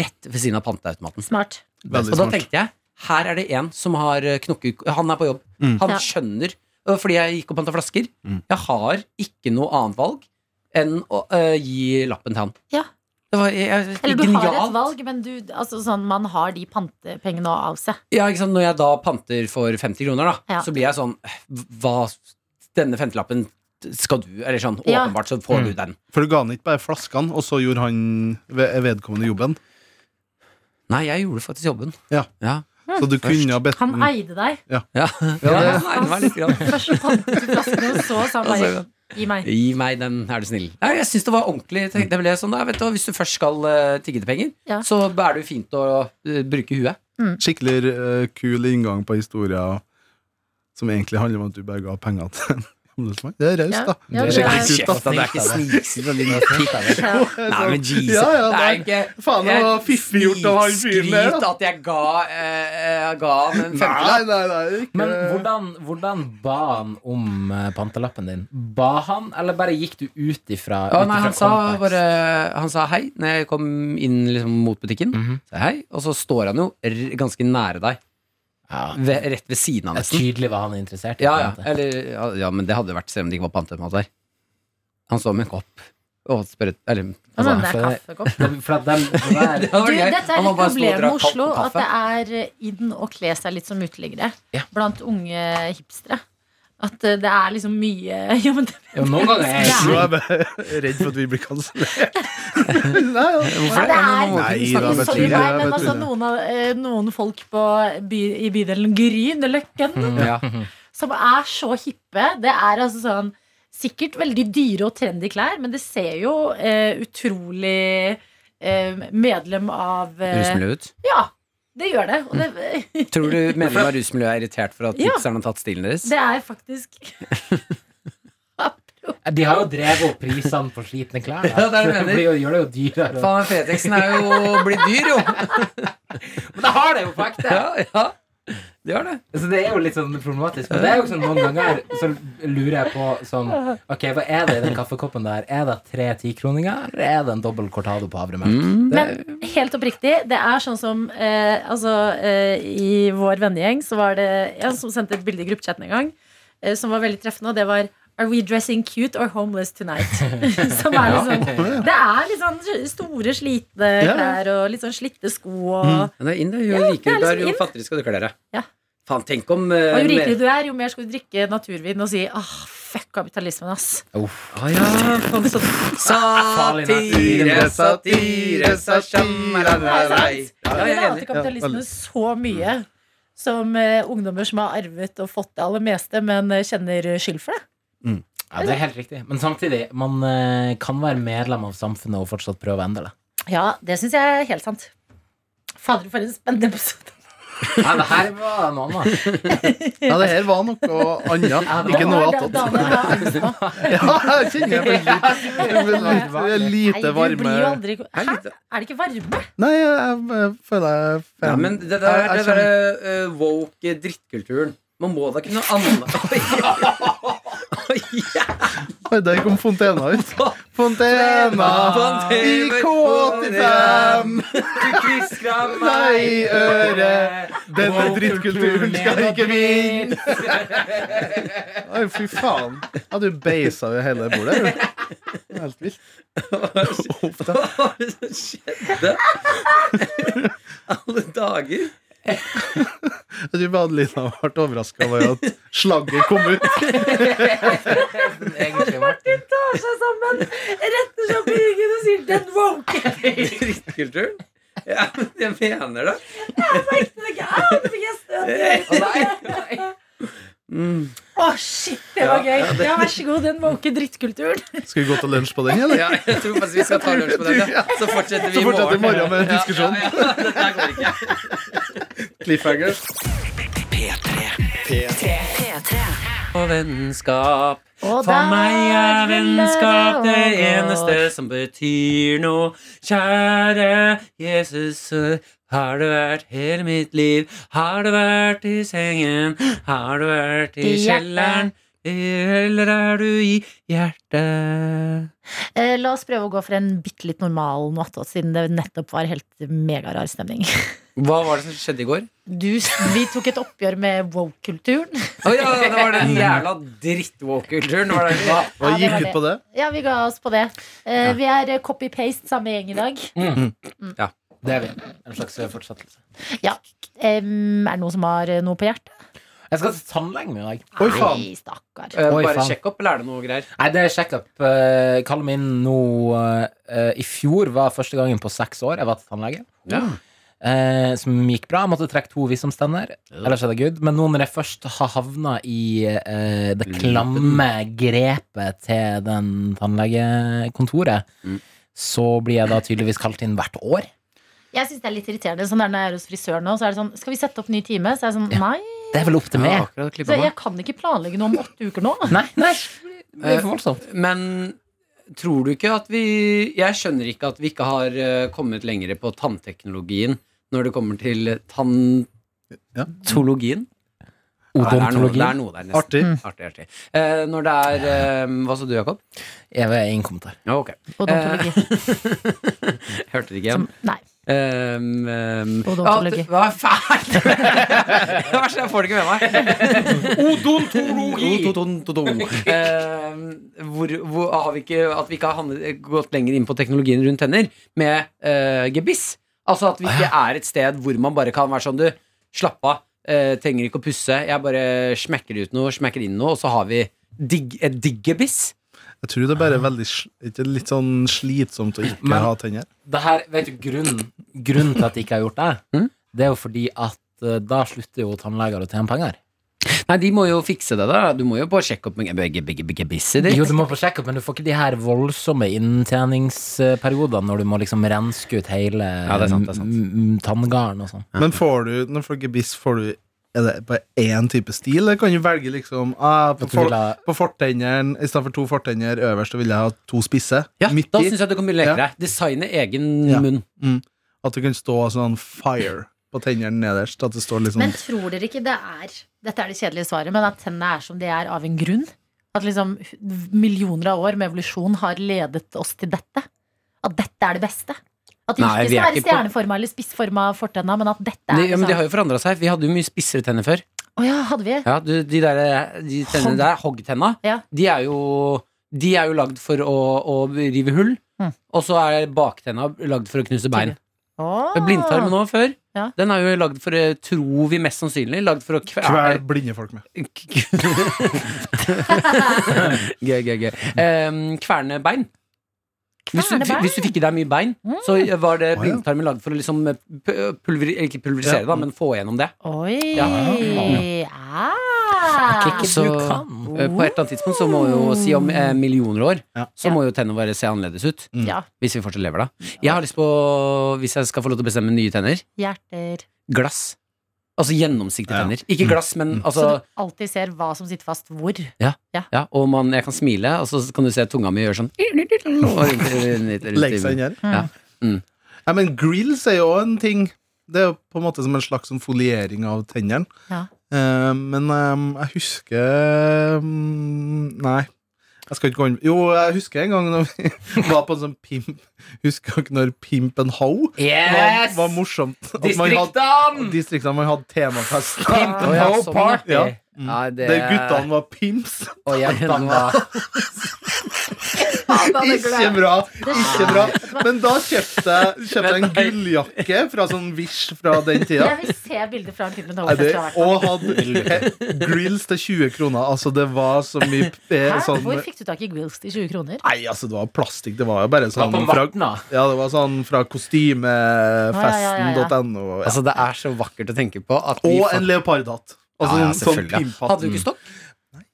D: Rett ved siden av panteautomaten.
B: Smart.
C: Veldig
D: Og da
C: smart.
D: tenkte jeg her er det en som har eh, knokket Han er på jobb.
C: Mm.
D: Han
B: Ja.
D: skjønner. øh, Fordi jeg gikk og panta flasker.
C: Mm.
D: Jeg har ikke noe annet valg enn å øh, gi lappen til han.
B: Ja.
D: Det var jeg,
B: Eller du
D: genialt.
B: har et valg, men du, altså, sånn, man har de pantepengene av seg.
D: Ja, ikke sant? Når jeg da panter for 50 kroner, da,
B: Ja.
D: så blir jeg sånn Hva Denne femtelappen skal du Eller sånn,
B: Ja.
D: åpenbart så får
C: Mm.
D: du den.
C: For du ga han ikke bare flaskene, og så gjorde han ved- vedkommende jobben.
D: Nei, jeg gjorde faktisk jobben.
C: Ja.
D: Ja.
C: Så du kunne ha bedt
B: Han
C: den
B: eide deg.
D: ja.
C: Ja, det-
D: Nei, det var litt grann.
B: Først så pantet du flaskene, og så sa han bare
D: Altså,
B: gi meg.
D: Gi meg den, er du snill. Nei, jeg syns det var ordentlig. Tenk- Det ble sånn, da, vet du, hva, Hvis du først skal eh, tigge til penger,
B: Ja.
D: så er det jo fint å eh, bruke huet.
C: Skikkelig eh, kul inngang på historia som egentlig handler om at du bare ga penger til en handelsmann. Det er raust, da.
B: Ja,
C: Det
B: ja,
C: er
B: det er-
C: skikkelig kult, da.
E: kjeft, da. Det er ikke
D: sniksyn. Nei, men Jesus.
C: Ja, ja,
D: det
C: nei.
D: er ikke
C: Faen, det var fiffig gjort av han fyren der,
D: Skryt
C: da.
D: at jeg ga, eh, jeg ga han en
C: Nei,
D: femtelapp.
C: nei, nei. Ikke.
E: Men hvordan, hvordan ba han om eh, pantelappen din? Ba han, eller bare gikk du ut ifra,
D: Å,
E: ut
D: nei,
E: ifra
D: han, sa
E: kontekst?
D: bare, han sa hei når jeg kom inn liksom, mot butikken. Sa jeg hei, Og så står han jo r ganske nære deg.
E: Ja.
D: Ved, rett ved siden av,
E: Det er
D: nesten.
E: tydelig hva han er interessert i.
D: Ja,
E: på en
D: ja.
E: måte.
D: Eller, ja, ja, men det hadde vært selv om det ikke var pantemat der. Han står med en kopp og spør et- Eller
B: Ja, men det er
E: for-
B: kaffekopp.
E: Det- For at dem, det der,
D: Det hadde
B: Du,
D: vært gøy.
B: dette
D: Han
B: er
D: må
B: et
D: bare stå og
B: problem med
D: dra kaffe-
B: Oslo. At
D: kaffe.
B: det er eh, inn å kle seg litt som uteliggere
E: Ja.
B: blant unge hipstere. At eh, det er liksom mye Jo, men det
E: jo, noen ganger er jeg
C: Nå er jeg bare redd for at vi blir kansellert. Nei, ja.
B: Ja, det er
C: Nei,
B: Sorry,
C: da, vet
B: sorry,
C: du det,
B: nei, men
C: vet du
B: altså,
C: det.
B: noen, av, eh, noen folk på by, i bydelen Grünerløkken
D: Ja.
B: som er så hippe. Det er altså sånn Sikkert veldig dyre og trendy klær, men det ser jo eh, utrolig eh, medlem av eh,
D: Rusmiljø ut.
B: Ja, det gjør det. Og det,
D: Tror du medlemmer av rusmiljøet er irritert for at
B: Ja.
D: tipserne har tatt stilen deres?
B: det er faktisk
E: De har jo drevet opp prisene på slitne klær. da.
D: Ja, det er det jeg
E: Så
D: mener.
E: blir jo- gjør det jo dyrere.
D: Faen, Fretexen er jo blitt dyr, jo!
E: Men det har det jo på ekte!
D: Ja, ja. Det gjør det.
E: Så det er jo litt sånn problematisk. Men det er jo sånn noen ganger så lurer jeg på sånn Ok, hva er det i den kaffekoppen der? Er det tre tikroninger, eller er det en dobbel cortado på
D: Mm.
E: havremelk?
B: Men helt oppriktig, det er sånn som eh, Altså, eh, i vår vennegjeng så var det en som sendte et bilde i gruppechatten en gang, eh, som var veldig treffende, og det var Are we dressing cute or homeless tonight? som er liksom, det er litt sånn store, slitne
C: Ja.
B: klær og litt sånn slitte sko og
D: Men det er inn, det. Jo
B: Ja, det
D: rikere
B: er
D: du er,
B: liksom
D: jo
B: inn.
D: fattigere skal du kle deg.
B: Ja.
D: Faen, tenk om
B: Og
D: eh,
B: jo rikere
D: mer-
B: du er, jo mer skal du drikke naturvin og si åh, fuck kapitalismen, ass.
D: ah, ja.
B: Kom, så,
D: Satire, satire, satire
B: Ja, jeg
D: er
B: hater kapitalismen
C: veldig.
B: så mye som eh, ungdommer som har arvet og fått det aller meste, men eh, kjenner skyld for det.
E: Ja, det er helt riktig. Men samtidig, man eh, kan være medlem av samfunnet og fortsatt prøve å endre det.
B: Ja, det syns jeg er helt sant. Fader, for en spennende episode.
E: Nei, det her var noe annet.
C: ja, det her var noe annet. Ikke noe attåt.
B: attåt.
C: Ja, jeg kjenner jeg blir litt, jeg blir litt, jeg er lite
B: Nei, du blir jo
C: varme.
B: aldri Hæ?
D: Hæ?
B: Er det ikke varme?
C: Nei, jeg, jeg føler jeg
D: Ja, men det der,
C: Jeg- jeg
D: det der eh, woke drittkulturen Man må da kunne anna...
C: Oi, der kom Fontena ut. Fontena i K85.
D: Fontena.
E: Du kviskra
C: meg i øret. Denne drittkulturen skal ikke vinne. Oi, fy faen. Ja, du beisa jo hele bordet. jo. Det er Helt vilt. Uff, da.
D: Hva var det som skjedde? Alle dager
C: Jeg tror bare Adelina ble overraska over at slagget kom ut.
E: Egentlig var det
B: Tar seg sammen, retter seg på ryggen og sier 'den woke'.
D: Drittkulturen Ja, jeg mener det.
B: Å, Mm. shit, det var gøy. Ja, vær så god, den woke drittkulturen.
C: Skal vi gå til lunsj på den, eller?
D: Ja, jeg tror faktisk vi skal ta lunsj på den. Ja. Så fortsetter vi
C: Så
D: i
C: fortsetter vi i
D: morgen.
C: morgen med en diskusjon.
D: Ja, ja, ja. Dette her går ikke.
C: Cliffhanger.
D: Og vennskap.
B: Og
D: For meg er
B: ville det
D: vennskap det
B: gå.
D: eneste som betyr noe. Kjære Jesus, har du vært hele mitt liv? Har du vært i sengen? Har du vært
B: I
D: i
B: hjertet.
D: kjelleren? Eller er du i hjertet?
B: Eh, La oss prøve å gå for en bitte litt normal noe attåt, siden det nettopp var helt megarar stemning.
D: Hva var det som skjedde i går?
B: Du, vi tok et oppgjør med woke-kulturen.
D: Å ja, det var den jævla dritt-walk-kulturen. var det.
C: Hva
B: Ja, det
C: gikk
B: var
C: ut på det?
B: Ja, vi ga oss på det. Eh, Vi er eh, copy-paste samme gjeng i dag.
E: Mm. Det er vi. En slags eh, fortsettelse.
B: Ja. Em, er det noen som har eh, noe på hjertet?
E: Jeg skal til tannlegen min i dag.
C: Oi, faen.
B: Nei, stakkar.
D: Eh,
E: Oi,
D: Bare
E: faen.
D: sjekk opp, eller er det noe greier?
E: Nei, det er sjekkup. Eh, Kallen min nå eh, I fjor var første gangen på seks år jeg var til tannlege. Eh, som gikk bra. Jeg måtte trekke to visdomstenner. Ellers er det good. Men nå når jeg først har havna i eh, det klamme grepet til den tannlegekontoret, så blir jeg da tydeligvis kalt inn hvert år.
B: Jeg syns det er litt irriterende. Sånn der når jeg er hos frisøren nå, så er det sånn Skal vi sette opp ny time? Så er jeg sånn Nei.
E: Det er vel opp til
D: Ja,
E: meg.
D: akkurat klippet
B: Så
D: meg.
B: jeg kan ikke planlegge noe om åtte uker nå.
E: Nei, nei. Det blir for voldsomt.
D: Men tror du ikke at vi Jeg skjønner ikke at vi ikke har eh, kommet lenger på tannteknologien når det kommer til
C: Ja.
D: tantologien. Ja, det, er noe, det
E: Odontologi.
D: er noe der, nesten.
C: Artig.
D: Artig, artig. Eh, når det er eh, Hva sa du, Jakob?
E: Eh, Jeg vil ingen kommentar.
D: Ja, ok.
B: Odontologi.
D: Jeg hørte det
C: Eh,
D: ikke igjen.
B: Som, nei.
D: Um, um,
B: Odontologi.
D: ja, Hva fælt! Det verste er jeg får det ikke med meg. Odontologi! Eh, hvor, hvor har vi ikke, at vi ikke har handlet, gått lenger inn på teknologien rundt tenner med eh, gebiss. Altså at vi ikke er et sted hvor man bare kan være sånn Du, slapp av. eh, trenger ikke å pusse. Jeg bare smekker ut noe, smekker inn noe, og så har vi digg, et digg gebiss.
C: Jeg tror det er bare veldig sl- ikke litt sånn slitsomt å ikke
E: Men-
C: ha tenner.
E: det her, vet du, grunnen, grunnen til at jeg ikke har gjort det,
D: Mm.
E: det er jo fordi at eh, da slutter jo tannleger å tjene penger.
D: Nei, de må jo fikse det, da. Du må jo bare sjekke opp med ge- ge- ge- gebisset ditt.
E: Jo, du må på sjekkup, men du får ikke de her voldsomme inntjeningsperiodene når du må liksom renske ut hele
D: Ja, det er sant, det er sant.
E: m- m- tanngarden og sånn.
C: Men får du, når folk er biss, får du er det bare én type stil? Eller kan du velge liksom ah, på,
E: At du vil
C: for,
E: ha-
C: på fortenneren Istedenfor to fortenner øverst, så vil jeg ha to spisse.
D: Ja,
C: midt
D: da
C: i.
D: syns jeg du kan begynne å leke deg. Designe egen
C: Ja.
D: munn.
C: At du kan stå sånn fire på tennene nederst. At det står litt
B: Men
C: sånn
B: tror dere ikke det er Dette er det kjedelige svaret, men at tennene er som de er av en grunn? At liksom millioner av år med evolusjon har ledet oss til dette? At dette er det beste? At det
D: Nei,
B: ikke
D: vi
B: skal
D: er
B: være
D: ikke på-
B: stjerneforma eller spissforma fortenna, men at dette er
D: De, ja, men de
B: liksom-
D: har jo forandra seg. Vi hadde jo mye spissere tenner før.
B: Å ja, hadde vi?
D: Ja, du, De der, de tennene der, hoggtenna,
B: Ja.
D: de er jo De er jo lagd for å, å rive hull.
B: Mm.
D: Og så er baktenna lagd for å knuse bein.
B: Oh.
D: Blindtarmen òg før.
B: Ja.
D: Den er jo lagd for, eh, tror vi mest sannsynlig, lagd for å
C: Kvel
D: kvele
C: blinde folk med.
D: Gøy, gøy, gøy. Em, kverne bein. Hvis du,
B: Kverne bein?
D: hvis du fikk i deg mye bein, Mm. så var
C: Å,
D: det
C: ja.
D: blindtarmen lagd for å liksom eh, pu- pulveri, eller ikke pulverisere,
C: Ja.
D: da, men få gjennom det.
B: Oi!
D: Ja.
B: Ah.
E: Ikke
D: Så-
E: du kan.
D: Eh, På et eller annet tidspunkt så må jo si om eh, millioner år,
C: Mm. Ja.
D: så
B: Ja.
D: må jo tennene våre se annerledes ut.
B: Ja.
D: Hvis vi fortsatt lever, da. Jeg har lyst på, hvis jeg skal få lov til å bestemme nye tenner,
B: Hjerter.
D: glass. Altså gjennomsiktige
C: Ja. Mm.
D: tenner. Ikke glass, men
B: Så du
D: altså
B: alltid ser hva som sitter fast hvor.
D: Ja, og man, jeg kan smile, og så kan du se tunga mi gjøre sånn og rundt- rundt- rundt-
C: Legge seg inn her.
D: Ja. Mm.
C: Ja, men grills er jo en ting. Det er jo på en måte som en slags sånn foliering av tennene.
B: Ja.
C: Eh, men eh, jeg husker mm, Nei. Jeg skal ikke gå inn Jo, jeg husker en gang når vi var på en sånn pimp Husker dere når Pimp and Ho var,
E: Yes!
C: var morsomt? At man hadde-
E: Distriktene!
C: Distriktene man hadde temafest.
E: Pimp
D: Å,
E: and
D: ja,
E: hoe
D: sånn, ja.
E: party!
C: Ja.
D: Nei, det
C: Der guttene var pimps.
E: Og jentene var
B: faen, han er
C: Ikke
B: glad.
C: bra! ikke bra Men da kjøpte jeg kjøpte jeg en gulljakke fra sånn Wish fra den tida.
B: Jeg vil se bilder fra en Clinton
C: Nei, det,
B: Howard-fest. fra hvert fall.
C: og hadde eh, grills til 20 kroner. Altså, det var så mye eh,
B: Hæ?
C: sånn
B: Hvor fikk du tak i grills til 20 kroner?
C: Nei, altså, det var plastikk. Det var jo bare sånn
E: på
C: fra,
E: Vartna.
C: ja, det var sånn fra kostymefesten.no. Ja.
D: Altså, det er så vakkert å tenke på at vi
C: Og
D: fakt-
C: en leopardhatt. Altså,
D: Ja, ja,
C: sånn
D: selvfølgelig.
C: pinnpatt.
D: Hadde du ikke stokk?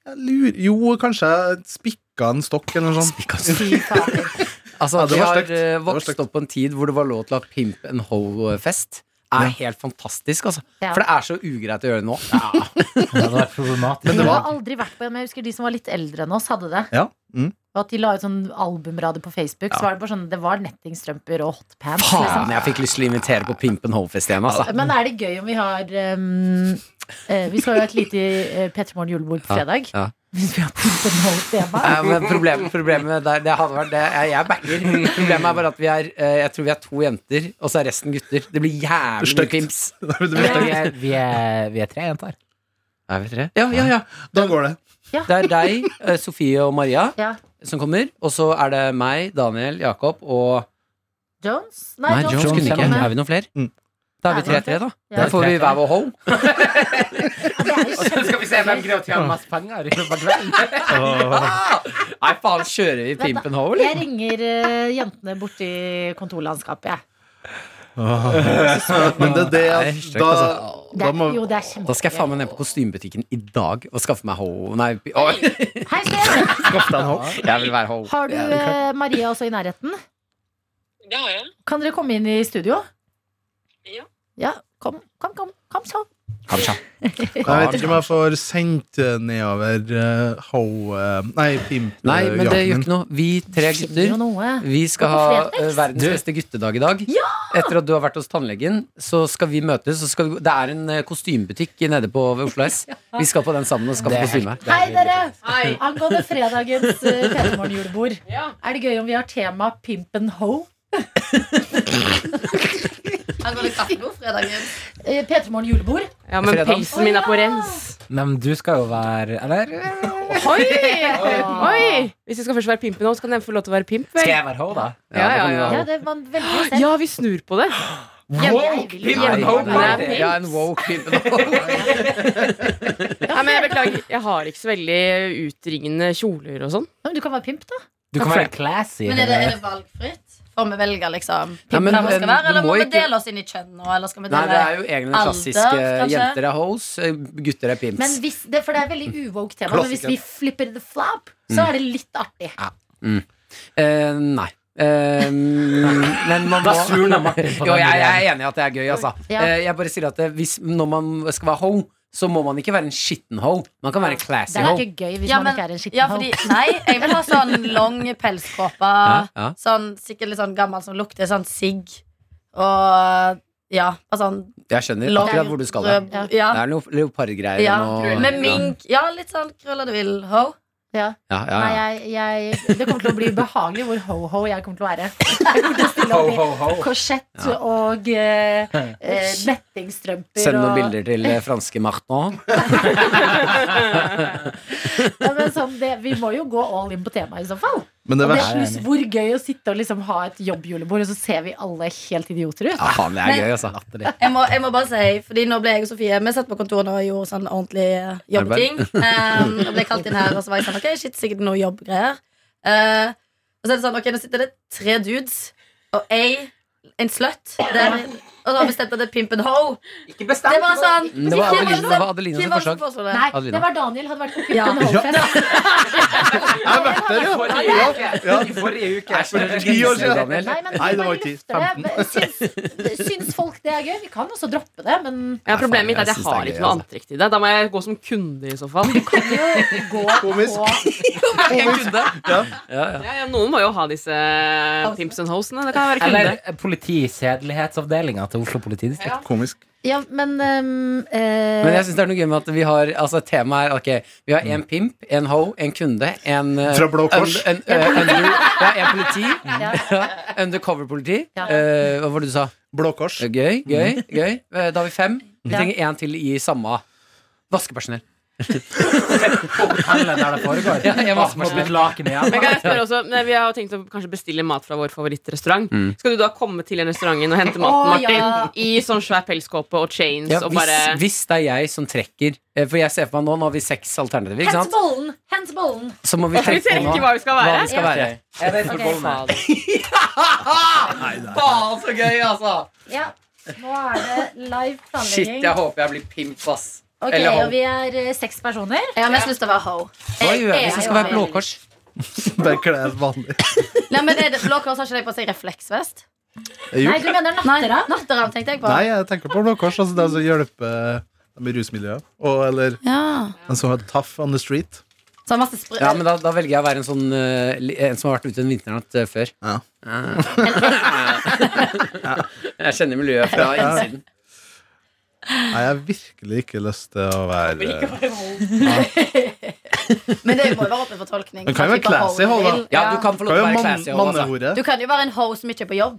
C: Jeg lurer- Jo, kanskje jeg spikka en stokk eller noe sånt.
B: Fy fader.
D: Altså,
C: Ja, det
D: vi
C: var
D: har
C: stygt.
D: eh,
C: Det var
D: vokst
C: stygt.
D: opp på en tid hvor det var lov til å ha pimp and ho-fest. Er helt fantastisk, altså.
B: Ja.
D: For det er så ugreit å gjøre nå.
E: Det hadde vært problematisk.
B: Vi
C: det var-
B: har aldri vært på en, men jeg husker de som var litt eldre enn oss, hadde det.
C: Ja. Mm.
B: Og at de la ut sånn albumrader på Facebook, så var det bare sånn Det var nettingstrømper og hotpants. Liksom.
D: Faen, jeg fikk lyst til å invitere på pimp and ho-fest igjen, altså.
B: Men er det gøy om vi har um, eh, Vi skal jo ha et lite uh, Petter Morgen julebord på fredag.
D: ja.
B: Hvis vi har pyntet noe tema.
D: Eh, Men problemet, problemet der, det hadde vært det, jeg, jeg backer. Problemet er bare at vi er eh, Jeg tror vi er to jenter, og så er resten gutter. Det blir jævlig mye
C: Stygt.
D: pimps.
E: Vi er, vi, er, vi er tre jenter.
D: Er vi tre? Ja, ja, ja.
C: Da går det.
D: Det er deg, eh, Sofie og Maria
B: Ja.
D: som kommer. Og så er det meg, Daniel, Jakob og
B: Jones?
D: Nei, Jones,
E: Jones
D: kunne
E: er
D: ikke.
E: med.
D: Er vi noen flere?
C: Mm.
D: Da er vi
B: Er vi
D: tre-tre, da.
B: Ja.
D: Da får vi hver vår home.
E: Skal vi se hvem greier å tjene mest penger i løpet av kvelden?
D: Nei, faen, kjører vi
B: Vent da.
D: Pimpen Hole?
B: Jeg ringer eh, jentene borti kontorlandskapet, jeg.
C: Men det er det
D: Nei,
C: at
D: stygt,
C: da,
D: altså.
B: Det
C: da
B: er,
C: må
B: jo, det er
D: Da skal jeg faen meg ned på kostymebutikken i dag og skaffe meg ho... Nei, pi- oi,
B: kjempe... Hei, Sten!
D: jeg vil være ho.
B: Har du eh, Maria også i nærheten?
F: Det har jeg.
B: Kan dere komme inn i studio?
F: Ja.
B: Ja, kom, kom, kom, kom så.
C: Jeg vet ikke om jeg får sendt eh, nedover eh, ho... eh, Nei, pimp.
D: Nei,
C: eh,
D: men det
C: jakken
D: gjør
C: min.
D: ikke noe. Vi tre
B: Finner jo
D: gutter
B: noe.
D: vi skal ha
B: Gå på
D: eh,
B: Fretex.
D: verdens
E: Du.
D: beste guttedag i dag. Etter at du har vært hos tannlegen, så skal vi møtes. Så skal vi, det er en eh, kostymebutikk nede på ved Oslo S. Vi skal på den sammen og skaffe
E: Det er
D: kostyme.
B: Hei, dere! Angående fredagens uh, P3morgen-julebord. Er det gøy om vi har tema pimp and ho?
G: Angående kaffe på fredagen.
B: Uh, P3morgen-julebord.
G: Ja, men
D: Fredag.
G: pilsen min er på rens.
E: Men du skal jo være Eller?
G: Oi! Oi! Hvis du skal først være pimp nå, så kan jeg få lov til å være pimp.
E: Skal
G: Vel?
E: jeg være ho, da?
G: Ja, ja, ja.
B: Ja, det man velger selv.
G: Ja, vi snur på det.
B: Woke
D: Nei,
G: Ho
D: nei,
G: party.
D: Ja, en woke Pimpen Hole.
G: Nei, men jeg beklager. Jeg har ikke så veldig utringende kjoler og sånn.
B: Men du kan være pimp, da.
E: Du kan være classy.
H: Men er det, er det valgfritt? Får vi velge liksom
D: Ja, men,
H: pimpen vi
D: men
H: skal være,
D: du
H: eller
D: må
H: må vi
D: ikke-
H: dele oss inn i kjønn nå? Eller skal vi
D: Nei,
H: dele
D: det er jo egentlig den
H: Alder,
D: klassiske
H: kanskje?
D: jenter er hoes, eh, gutter er pimps.
B: Men hvis, det, for det er veldig uvåg tema. Men hvis vi flipper the flap, så
D: Mm.
B: er det litt artig.
D: Eh, nei. Eh, men man må
E: Da surner Martin på
D: Jo,
E: den
D: jeg, jeg
E: ideen.
D: er enig i at det er gøy, altså.
B: Ja.
D: Eh, jeg bare sier at det, hvis, når man skal være ho, så må man ikke være en skitten ho. Man kan være en
B: Det
D: classy ho.
B: er ikke gøy hvis
H: Ja,
B: man
H: men-
B: ikke er en skitten
H: ja,
B: ho.
H: fordi, nei, jeg vil ha sånn lang pelskåpe.
D: Ja, ja.
H: Sånn, sikkert litt sånn gammel som lukter sånn sigg. Og ja, bare sånn
D: Jeg skjønner
H: lang
D: akkurat hvor du skal. Da.
H: rød-
D: Det
H: Ja,
D: er noe leopardgreier
H: ja.
D: og-
H: Med mink. Ja, litt sånn krølla du vil, ho.
B: Ja.
D: Ja, ja,
B: Nei,
D: ja.
B: jeg, jeg, det kommer til å bli ubehagelig hvor ho-ho jeg kommer til å være. Jeg kommer til å stille opp i korsett og eh, eh, nettingstrømper.
D: Send noen
B: og-
D: bilder til eh, franske Martin.
B: Ja, men sånn, det, vi må jo gå all in på temaet i så fall.
C: Men det
B: Og det
C: verste
B: er just hvor gøy å sitte og liksom ha et jobbjulebord, og så ser vi alle helt idioter ut.
D: Ja, faen, det er
H: Men-
D: gøy, altså.
H: Jeg må, jeg må bare si, fordi nå ble jeg og Sofie Vi satt på kontoret og gjorde sånn ordentlig eh, jobbting. Um, og ble kalt inn her, og så var jeg sånn Ok, shit, sikkert noe jobbgreier. Eh, og så er det sånn, ok, nå sitter det tre dudes og ei, en slutt, der, og så har vi bestemt at det er pimp and ho.
E: Ikke
H: Det var sånn
D: Det var
H: Hvem
D: Adelina,
H: som-
D: det var Adelina som
H: hvem var det
D: forslag.
H: som foreslo det?
B: Nei,
D: Adelina.
B: det var Daniel. Hadde vært på
H: Ja.
B: Pimpen Hallfest.
C: Jeg har vært der, ja! ja, ja.
E: I forrige uke.
C: Ti år siden.
D: Daniel.
B: Nei, men
C: Nei, det var
B: bare
C: ikke
B: løfter det. Syns, syns folk det er gøy? Vi kan også droppe det, men
D: Nei,
G: Ja,
D: faen,
G: problemet mitt er
D: jeg
G: at jeg
D: synes det er
G: har
D: gøy,
G: ikke noe
D: altså.
G: antrekk til det. Da må jeg gå som kunde i så fall.
B: kan jo gå
C: Komisk.
B: på
D: Ja, Altså. ja.
G: Ja, ja, noen må jo ha disse eh, pimps and hosene. Det kan være kunde.
E: Eller politisedelighetsavdelinga til Oslo politidistrikt.
C: Komisk.
B: Ja, men ehm, eh,
D: Men jeg synes det er noe gøy med at vi har Altså temaet er ok, vi har en pimp, en ho, en kunde, en eh,
C: Fra Blå Kors.
D: En, en, eh, under, ja, en politi.
B: Ja.
D: Ja, Undercover-politi.
B: Ja.
D: Eh, hva var det du sa? Mm.
C: Blå Kors.
D: Gøy, gøy, gøy. Eh, Da har vi fem. Vi
B: Ja.
D: trenger én til i samme vaskepersonell.
E: Hotellet der det foregår.
D: Ja, jeg vasker meg
E: Må bytte laken igjen.
G: Men kan jeg spørre også, nei, Vi har jo tenkt å kanskje bestille mat fra vår favorittrestaurant.
D: Mm.
G: Skal du da komme til den restauranten og hente maten,
B: Å,
G: Martin?
B: ja.
G: I sånn svær pelskåpe og chains
D: Ja,
G: og
D: hvis,
G: bare
D: hvis det er jeg som trekker eh, For jeg ser for meg nå, nå har vi seks alternativer, ikke
B: Hent
D: sant?
B: bollen! Hent bollen!
D: Så må vi
G: Skal vi
D: tenke
G: tenke
D: nå
G: hva vi skal
D: hva
G: være?
D: vi skal
B: Ja.
D: være.
E: Jeg vet
B: Ok.
E: hvor bollen er.
D: Faen, så gøy, altså!
B: Ja. Nå er det live planlegging.
D: håper jeg blir pimp, ass.
B: Ok,
D: Eller ho.
B: og vi er eh, seks personer.
H: Jeg har mest lyst til å være ho.
D: Hva gjør vi
H: Jeg
D: som
H: er
D: skal
H: jo
D: være Blå Kors?
C: Bare kle deg vanlig.
H: Nei, men er det, Blå Kors har ikke deg på seg refleksvest?
C: Jo.
B: Nei, du mener
H: Nei,
B: nattera?
H: natteravn tenkte jeg på.
C: Nei, jeg tenker på Blå Kors. Altså, de som hjelper dem i rusmiljøet. Og, eller
H: Ja.
C: den som er tough on the street.
H: Så han har masse sprø...
D: Ja, men da, da velger jeg å være en sånn eh, li- En som har vært ute en vinternatt eh, før.
C: Ja.
D: Jeg kjenner miljøet fra innsiden.
C: Nei, jeg har virkelig ikke lyst til å være
H: Men det må jo være åpen for tolkning.
C: Men kan jo
H: Hva type
C: være classy
H: ho
C: ho, da.
H: vil.
D: Ja, du kan få
C: Skal
D: lov til å
C: jo
D: være
C: man,
D: classy. også, altså.
C: mannehore.
H: Du kan jo være en ho som ikke er på jobb.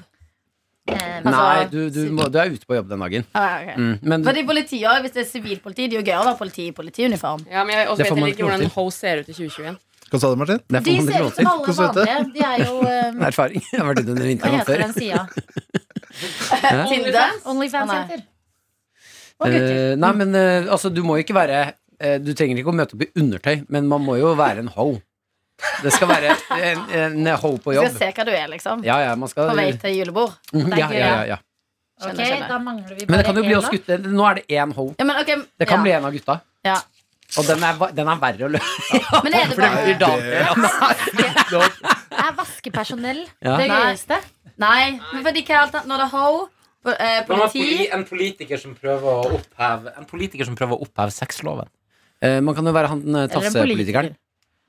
B: Eh,
H: altså.
D: Nei, du, du, må, du er ute på jobb den dagen.
H: Ah, ja, ok.
D: Mm, men
H: Fordi politiet, Hvis det er sivilpoliti, det er jo gøy å være politi i politiuniform.
G: Ja, men jeg også
D: Det
G: vet
D: får man
G: heller ikke
D: ikke lov
G: hvordan en
D: til.
G: ho ser ut i 2021.
C: Hva sa du, Martin?
B: De
D: det får man ikke
B: ser
D: lov
B: ut som
D: til.
C: Hvordan vet
B: alle vanlige. De er jo eh,
D: Erfaring. Jeg har vært ute under
B: Hva
D: vinternatt
B: heter
D: før.
B: den sida?
H: Tinder.
B: Onlyfans-jenter. Og gutter.
D: Eh, nei, men eh, altså, du må jo ikke være eh, Du trenger ikke å møte opp i undertøy, men man må jo være en ho. Det skal være en, en ho på
H: Du skal
D: jobb.
H: se hva du er, liksom.
D: Ja, ja, man skal
H: På vei til julebord.
D: Mhm, ja, ja, ja, ja.
H: Skjønner,
B: Ok,
H: skjønner.
B: da mangler vi bare
D: Men det kan jo bli
B: en,
D: oss
B: da.
D: gutter. Nå er det én ho.
H: Ja, men, ok,
D: Det kan
H: ja.
D: bli en av gutta.
H: Ja.
D: Og den er, va- den er verre å løse.
H: Men er det
D: blir
H: bare
D: Daniel,
B: Er vaskepersonell
D: Ja.
B: det
H: Nei.
B: gøyeste?
H: Nei, men fordi hva er alt annet? Når det er ho, po- eh, politi
E: En politiker som prøver å oppheve En politiker som prøver å oppheve sexloven.
D: Eh, man kan jo være han eh,
B: Eller en
D: tafsepolitikeren.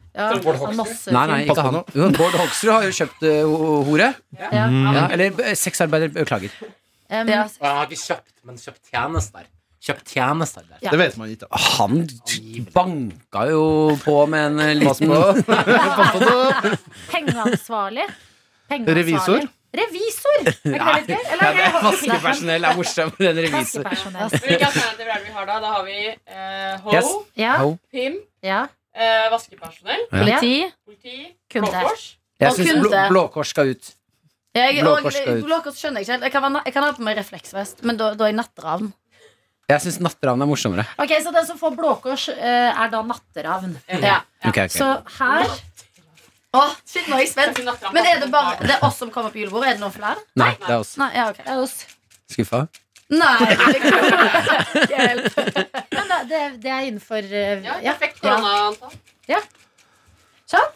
B: Ja,
E: Eller Bård
B: og
E: Hoksrud?
B: masse
D: Nei, nei,
B: film.
D: ikke
C: Pass på
D: han. Jo, Bård Hoksrud har jo kjøpt eh, ho- hore.
B: Ja.
D: Ja, eller eh, sexarbeider. Beklager.
B: Um,
H: ja.
E: Og han har ikke kjøpt, men kjøpt tjenester. Kjøpt tjenester der.
H: Ja.
C: Det vet man ikke.
D: Han t- banka jo på med en eh, liten
B: Pengeansvarlig. Pengeansvarlig.
C: Revisor?
B: Revisor! Er ikke det litt gøy? Eller er det
D: Vaskepersonell er morsommere enn revisor.
B: Vaskepersonell.
G: Hvilke alternativer er det vi har da? Da har vi eh, ho,
D: Yes.
B: Ja,
D: Ho.
G: pimp,
B: ja.
G: eh, vaskepersonell,
H: politi.
G: politi,
B: Kunde.
G: Blå Kors.
D: Jeg
H: Og
D: syns
H: kunde.
D: blå, Blåkors skal ut.
H: Jeg,
D: Blå
H: og,
D: Kors skal ut.
H: blå Kors skjønner jeg ikke helt. Jeg kan, være na- jeg kan ha på meg refleksvest, men da, da er jeg natteravn.
D: Jeg syns natteravn er morsommere.
B: Ok, Så den som får blåkors, eh, er da natteravn.
H: Ja.
D: Ok, ok.
B: Så her
H: Åh, shit, nå er jeg spent.
G: Kanskje natteravn
H: Men er
G: passer
H: det bare
G: litt
H: det er oss som kommer på julebordet? Er det noen flere?
D: Nei, det er oss.
H: Nei, ja, ok.
B: er det oss.
D: Skuffa?
H: Nei, det kan- Hjelp.
B: Men da, det, det er innenfor eh,
G: Ja,
B: ja.
G: perfekt
B: Ja.
G: koronaantall.
B: Sånn.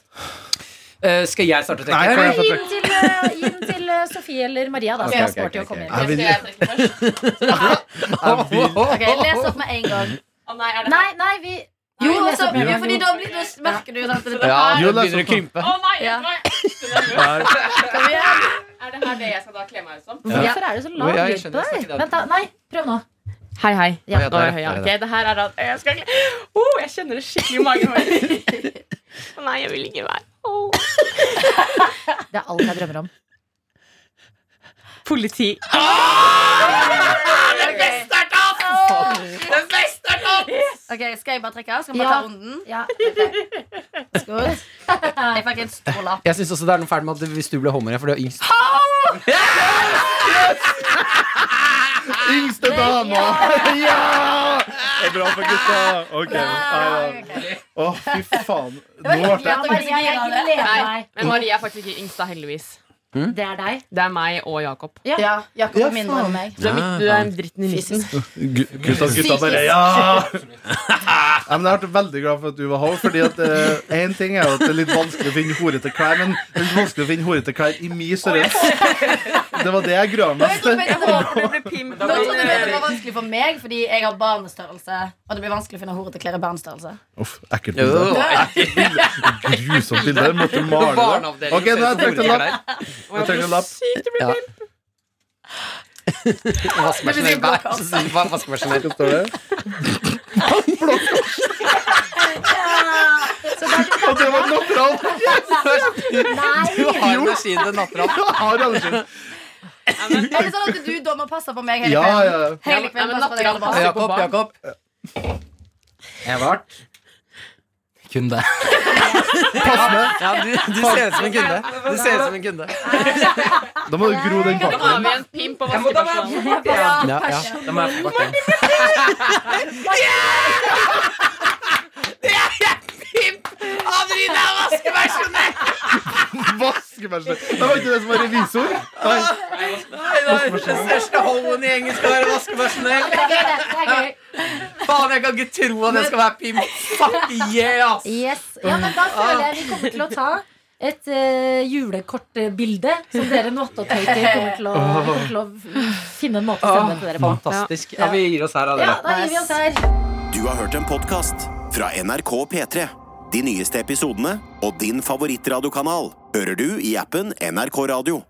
D: Eh, skal jeg starte
C: Nei,
D: å trekke?
C: kan jeg
D: her?
C: få
B: Inn til, eh, inn til eh, Sofie eller Maria, da.
D: Ok,
B: Så jeg
D: ok,
B: står til
D: ok,
B: å komme
D: ok.
B: inn.
C: Jeg
G: Skal
C: vil,
G: jeg trekke først?
C: jeg vil,
H: Ok, Les opp med en gang.
G: Å nei, er det
B: Nei, nei, vi
H: Jo,
B: Nei, les
H: altså,
B: opp med en
H: jo
B: gang.
H: fordi da blir, da merker du sant, at det
D: Ja,
H: her
D: nå
C: Jo, la oss
D: begynner det å
C: ta-
D: krympe.
G: Å nei,
H: Ja.
G: vet du hva? Jeg-
H: Kom igjen.
G: Er det her det jeg skal da kle meg ut som?
B: Hvorfor er det så
D: Oi,
B: lav lyd
D: jeg
B: på
D: skjønner,
B: deg?
D: snakker
B: Vent, da. Nei, prøv nå.
G: Hei, hei.
B: Ja.
D: Å, ja,
G: Nå
D: der,
G: er jeg høy, ja.
D: der,
G: Ok, det her er at jeg skal oh, Jeg kjenner det skikkelig i magen. Å Nei, jeg vil ikke være Åh.
B: Det er alt jeg drømmer om.
G: Politi.
H: Ok, Skal jeg bare trekke? Skal vi
B: Ja.
H: bare ta runden?
B: Ja,
H: Skål. Jeg fikk en stor lapp.
D: Jeg syns også det er noe feil med at hvis du ble homer, for du er yngst.
C: Yngste dama! Ja! Det er bra for gutta. Ok. nei,
H: Ok.
C: da. Å, fy faen. Nå ble jeg
B: ja Maria, jeg gleder meg.
G: Men Maria er faktisk ikke yngst, da, heldigvis.
D: Hm?
B: Det er deg.
G: Det er meg og Jakob.
H: Ja, Jakob
C: Ja,
H: er mindre enn
C: faen.
H: meg.
G: Du er, midt, du er dritten i midten.
C: Gu- Kult at gutta bare Ja! Nei, men jeg ble veldig glad for at du var ho. Fordi at én ting er jo at det er litt vanskelig å finne horete klær, men det er litt vanskelig å finne horete klær i min størrelse. Det var det jeg grua meg mest til.
H: Jeg trodde
G: Du blir pimp.
H: Nå trodde jeg det var vanskelig for meg, fordi jeg har barnestørrelse. Og det blir vanskelig å finne horete klær i barnestørrelse.
C: Uff, ekkelt bilde. Grusomt bilde. Måtte du male det. Ok, nå har jeg trukket en lapp. Jeg trekker en lapp.
D: Vaskemaskinell hver. Så sier du, "Hva- vaskemaskinell."
C: Hva står det? Og det var natteravn!
D: Du har en maskin til natteravn.
C: Jeg har aldri skjønt.
H: Er det sånn at du da må passe på meg hele
C: Ja,
H: kvelden?
C: ja.
H: Hele kvelden
G: Ja, men
H: passer på deg,
G: natteravn
H: Alba.
G: passer.
D: Jakob, Jakob.
E: Jeg har vært kunde.
D: Ja, du, du ser ut som en kunde. Du ser ut som en kunde.
C: Da må du gro den
G: Da har
C: barten.
G: vi en pimp og vaskeperson.
D: Ja, ja.
E: Da må jeg få bort den.
C: Vaskemaskin. Det var ikke det som var revisor. Nei.
D: Nei, nei, Den største hoen i gjengen skal være vaskepersonell.
B: Det er gøy, det. det er gøy.
D: Faen, jeg kan ikke tro at jeg skal være pimp. Fuck yeah, ass.
B: Yes. Ja, men da føler jeg vi kommer til å ta et eh, julekortbilde som dere notatøyter kommer, til å- kommer til å finne en måte å sende til dere på.
D: Fantastisk. Ja, vi gir oss her av
B: Ja,
D: dere.
B: da gir vi oss her.
A: Du har hørt en podcast fra NRK P3. De nyeste episodene og din favorittradiokanal hører du i appen NRK Radio.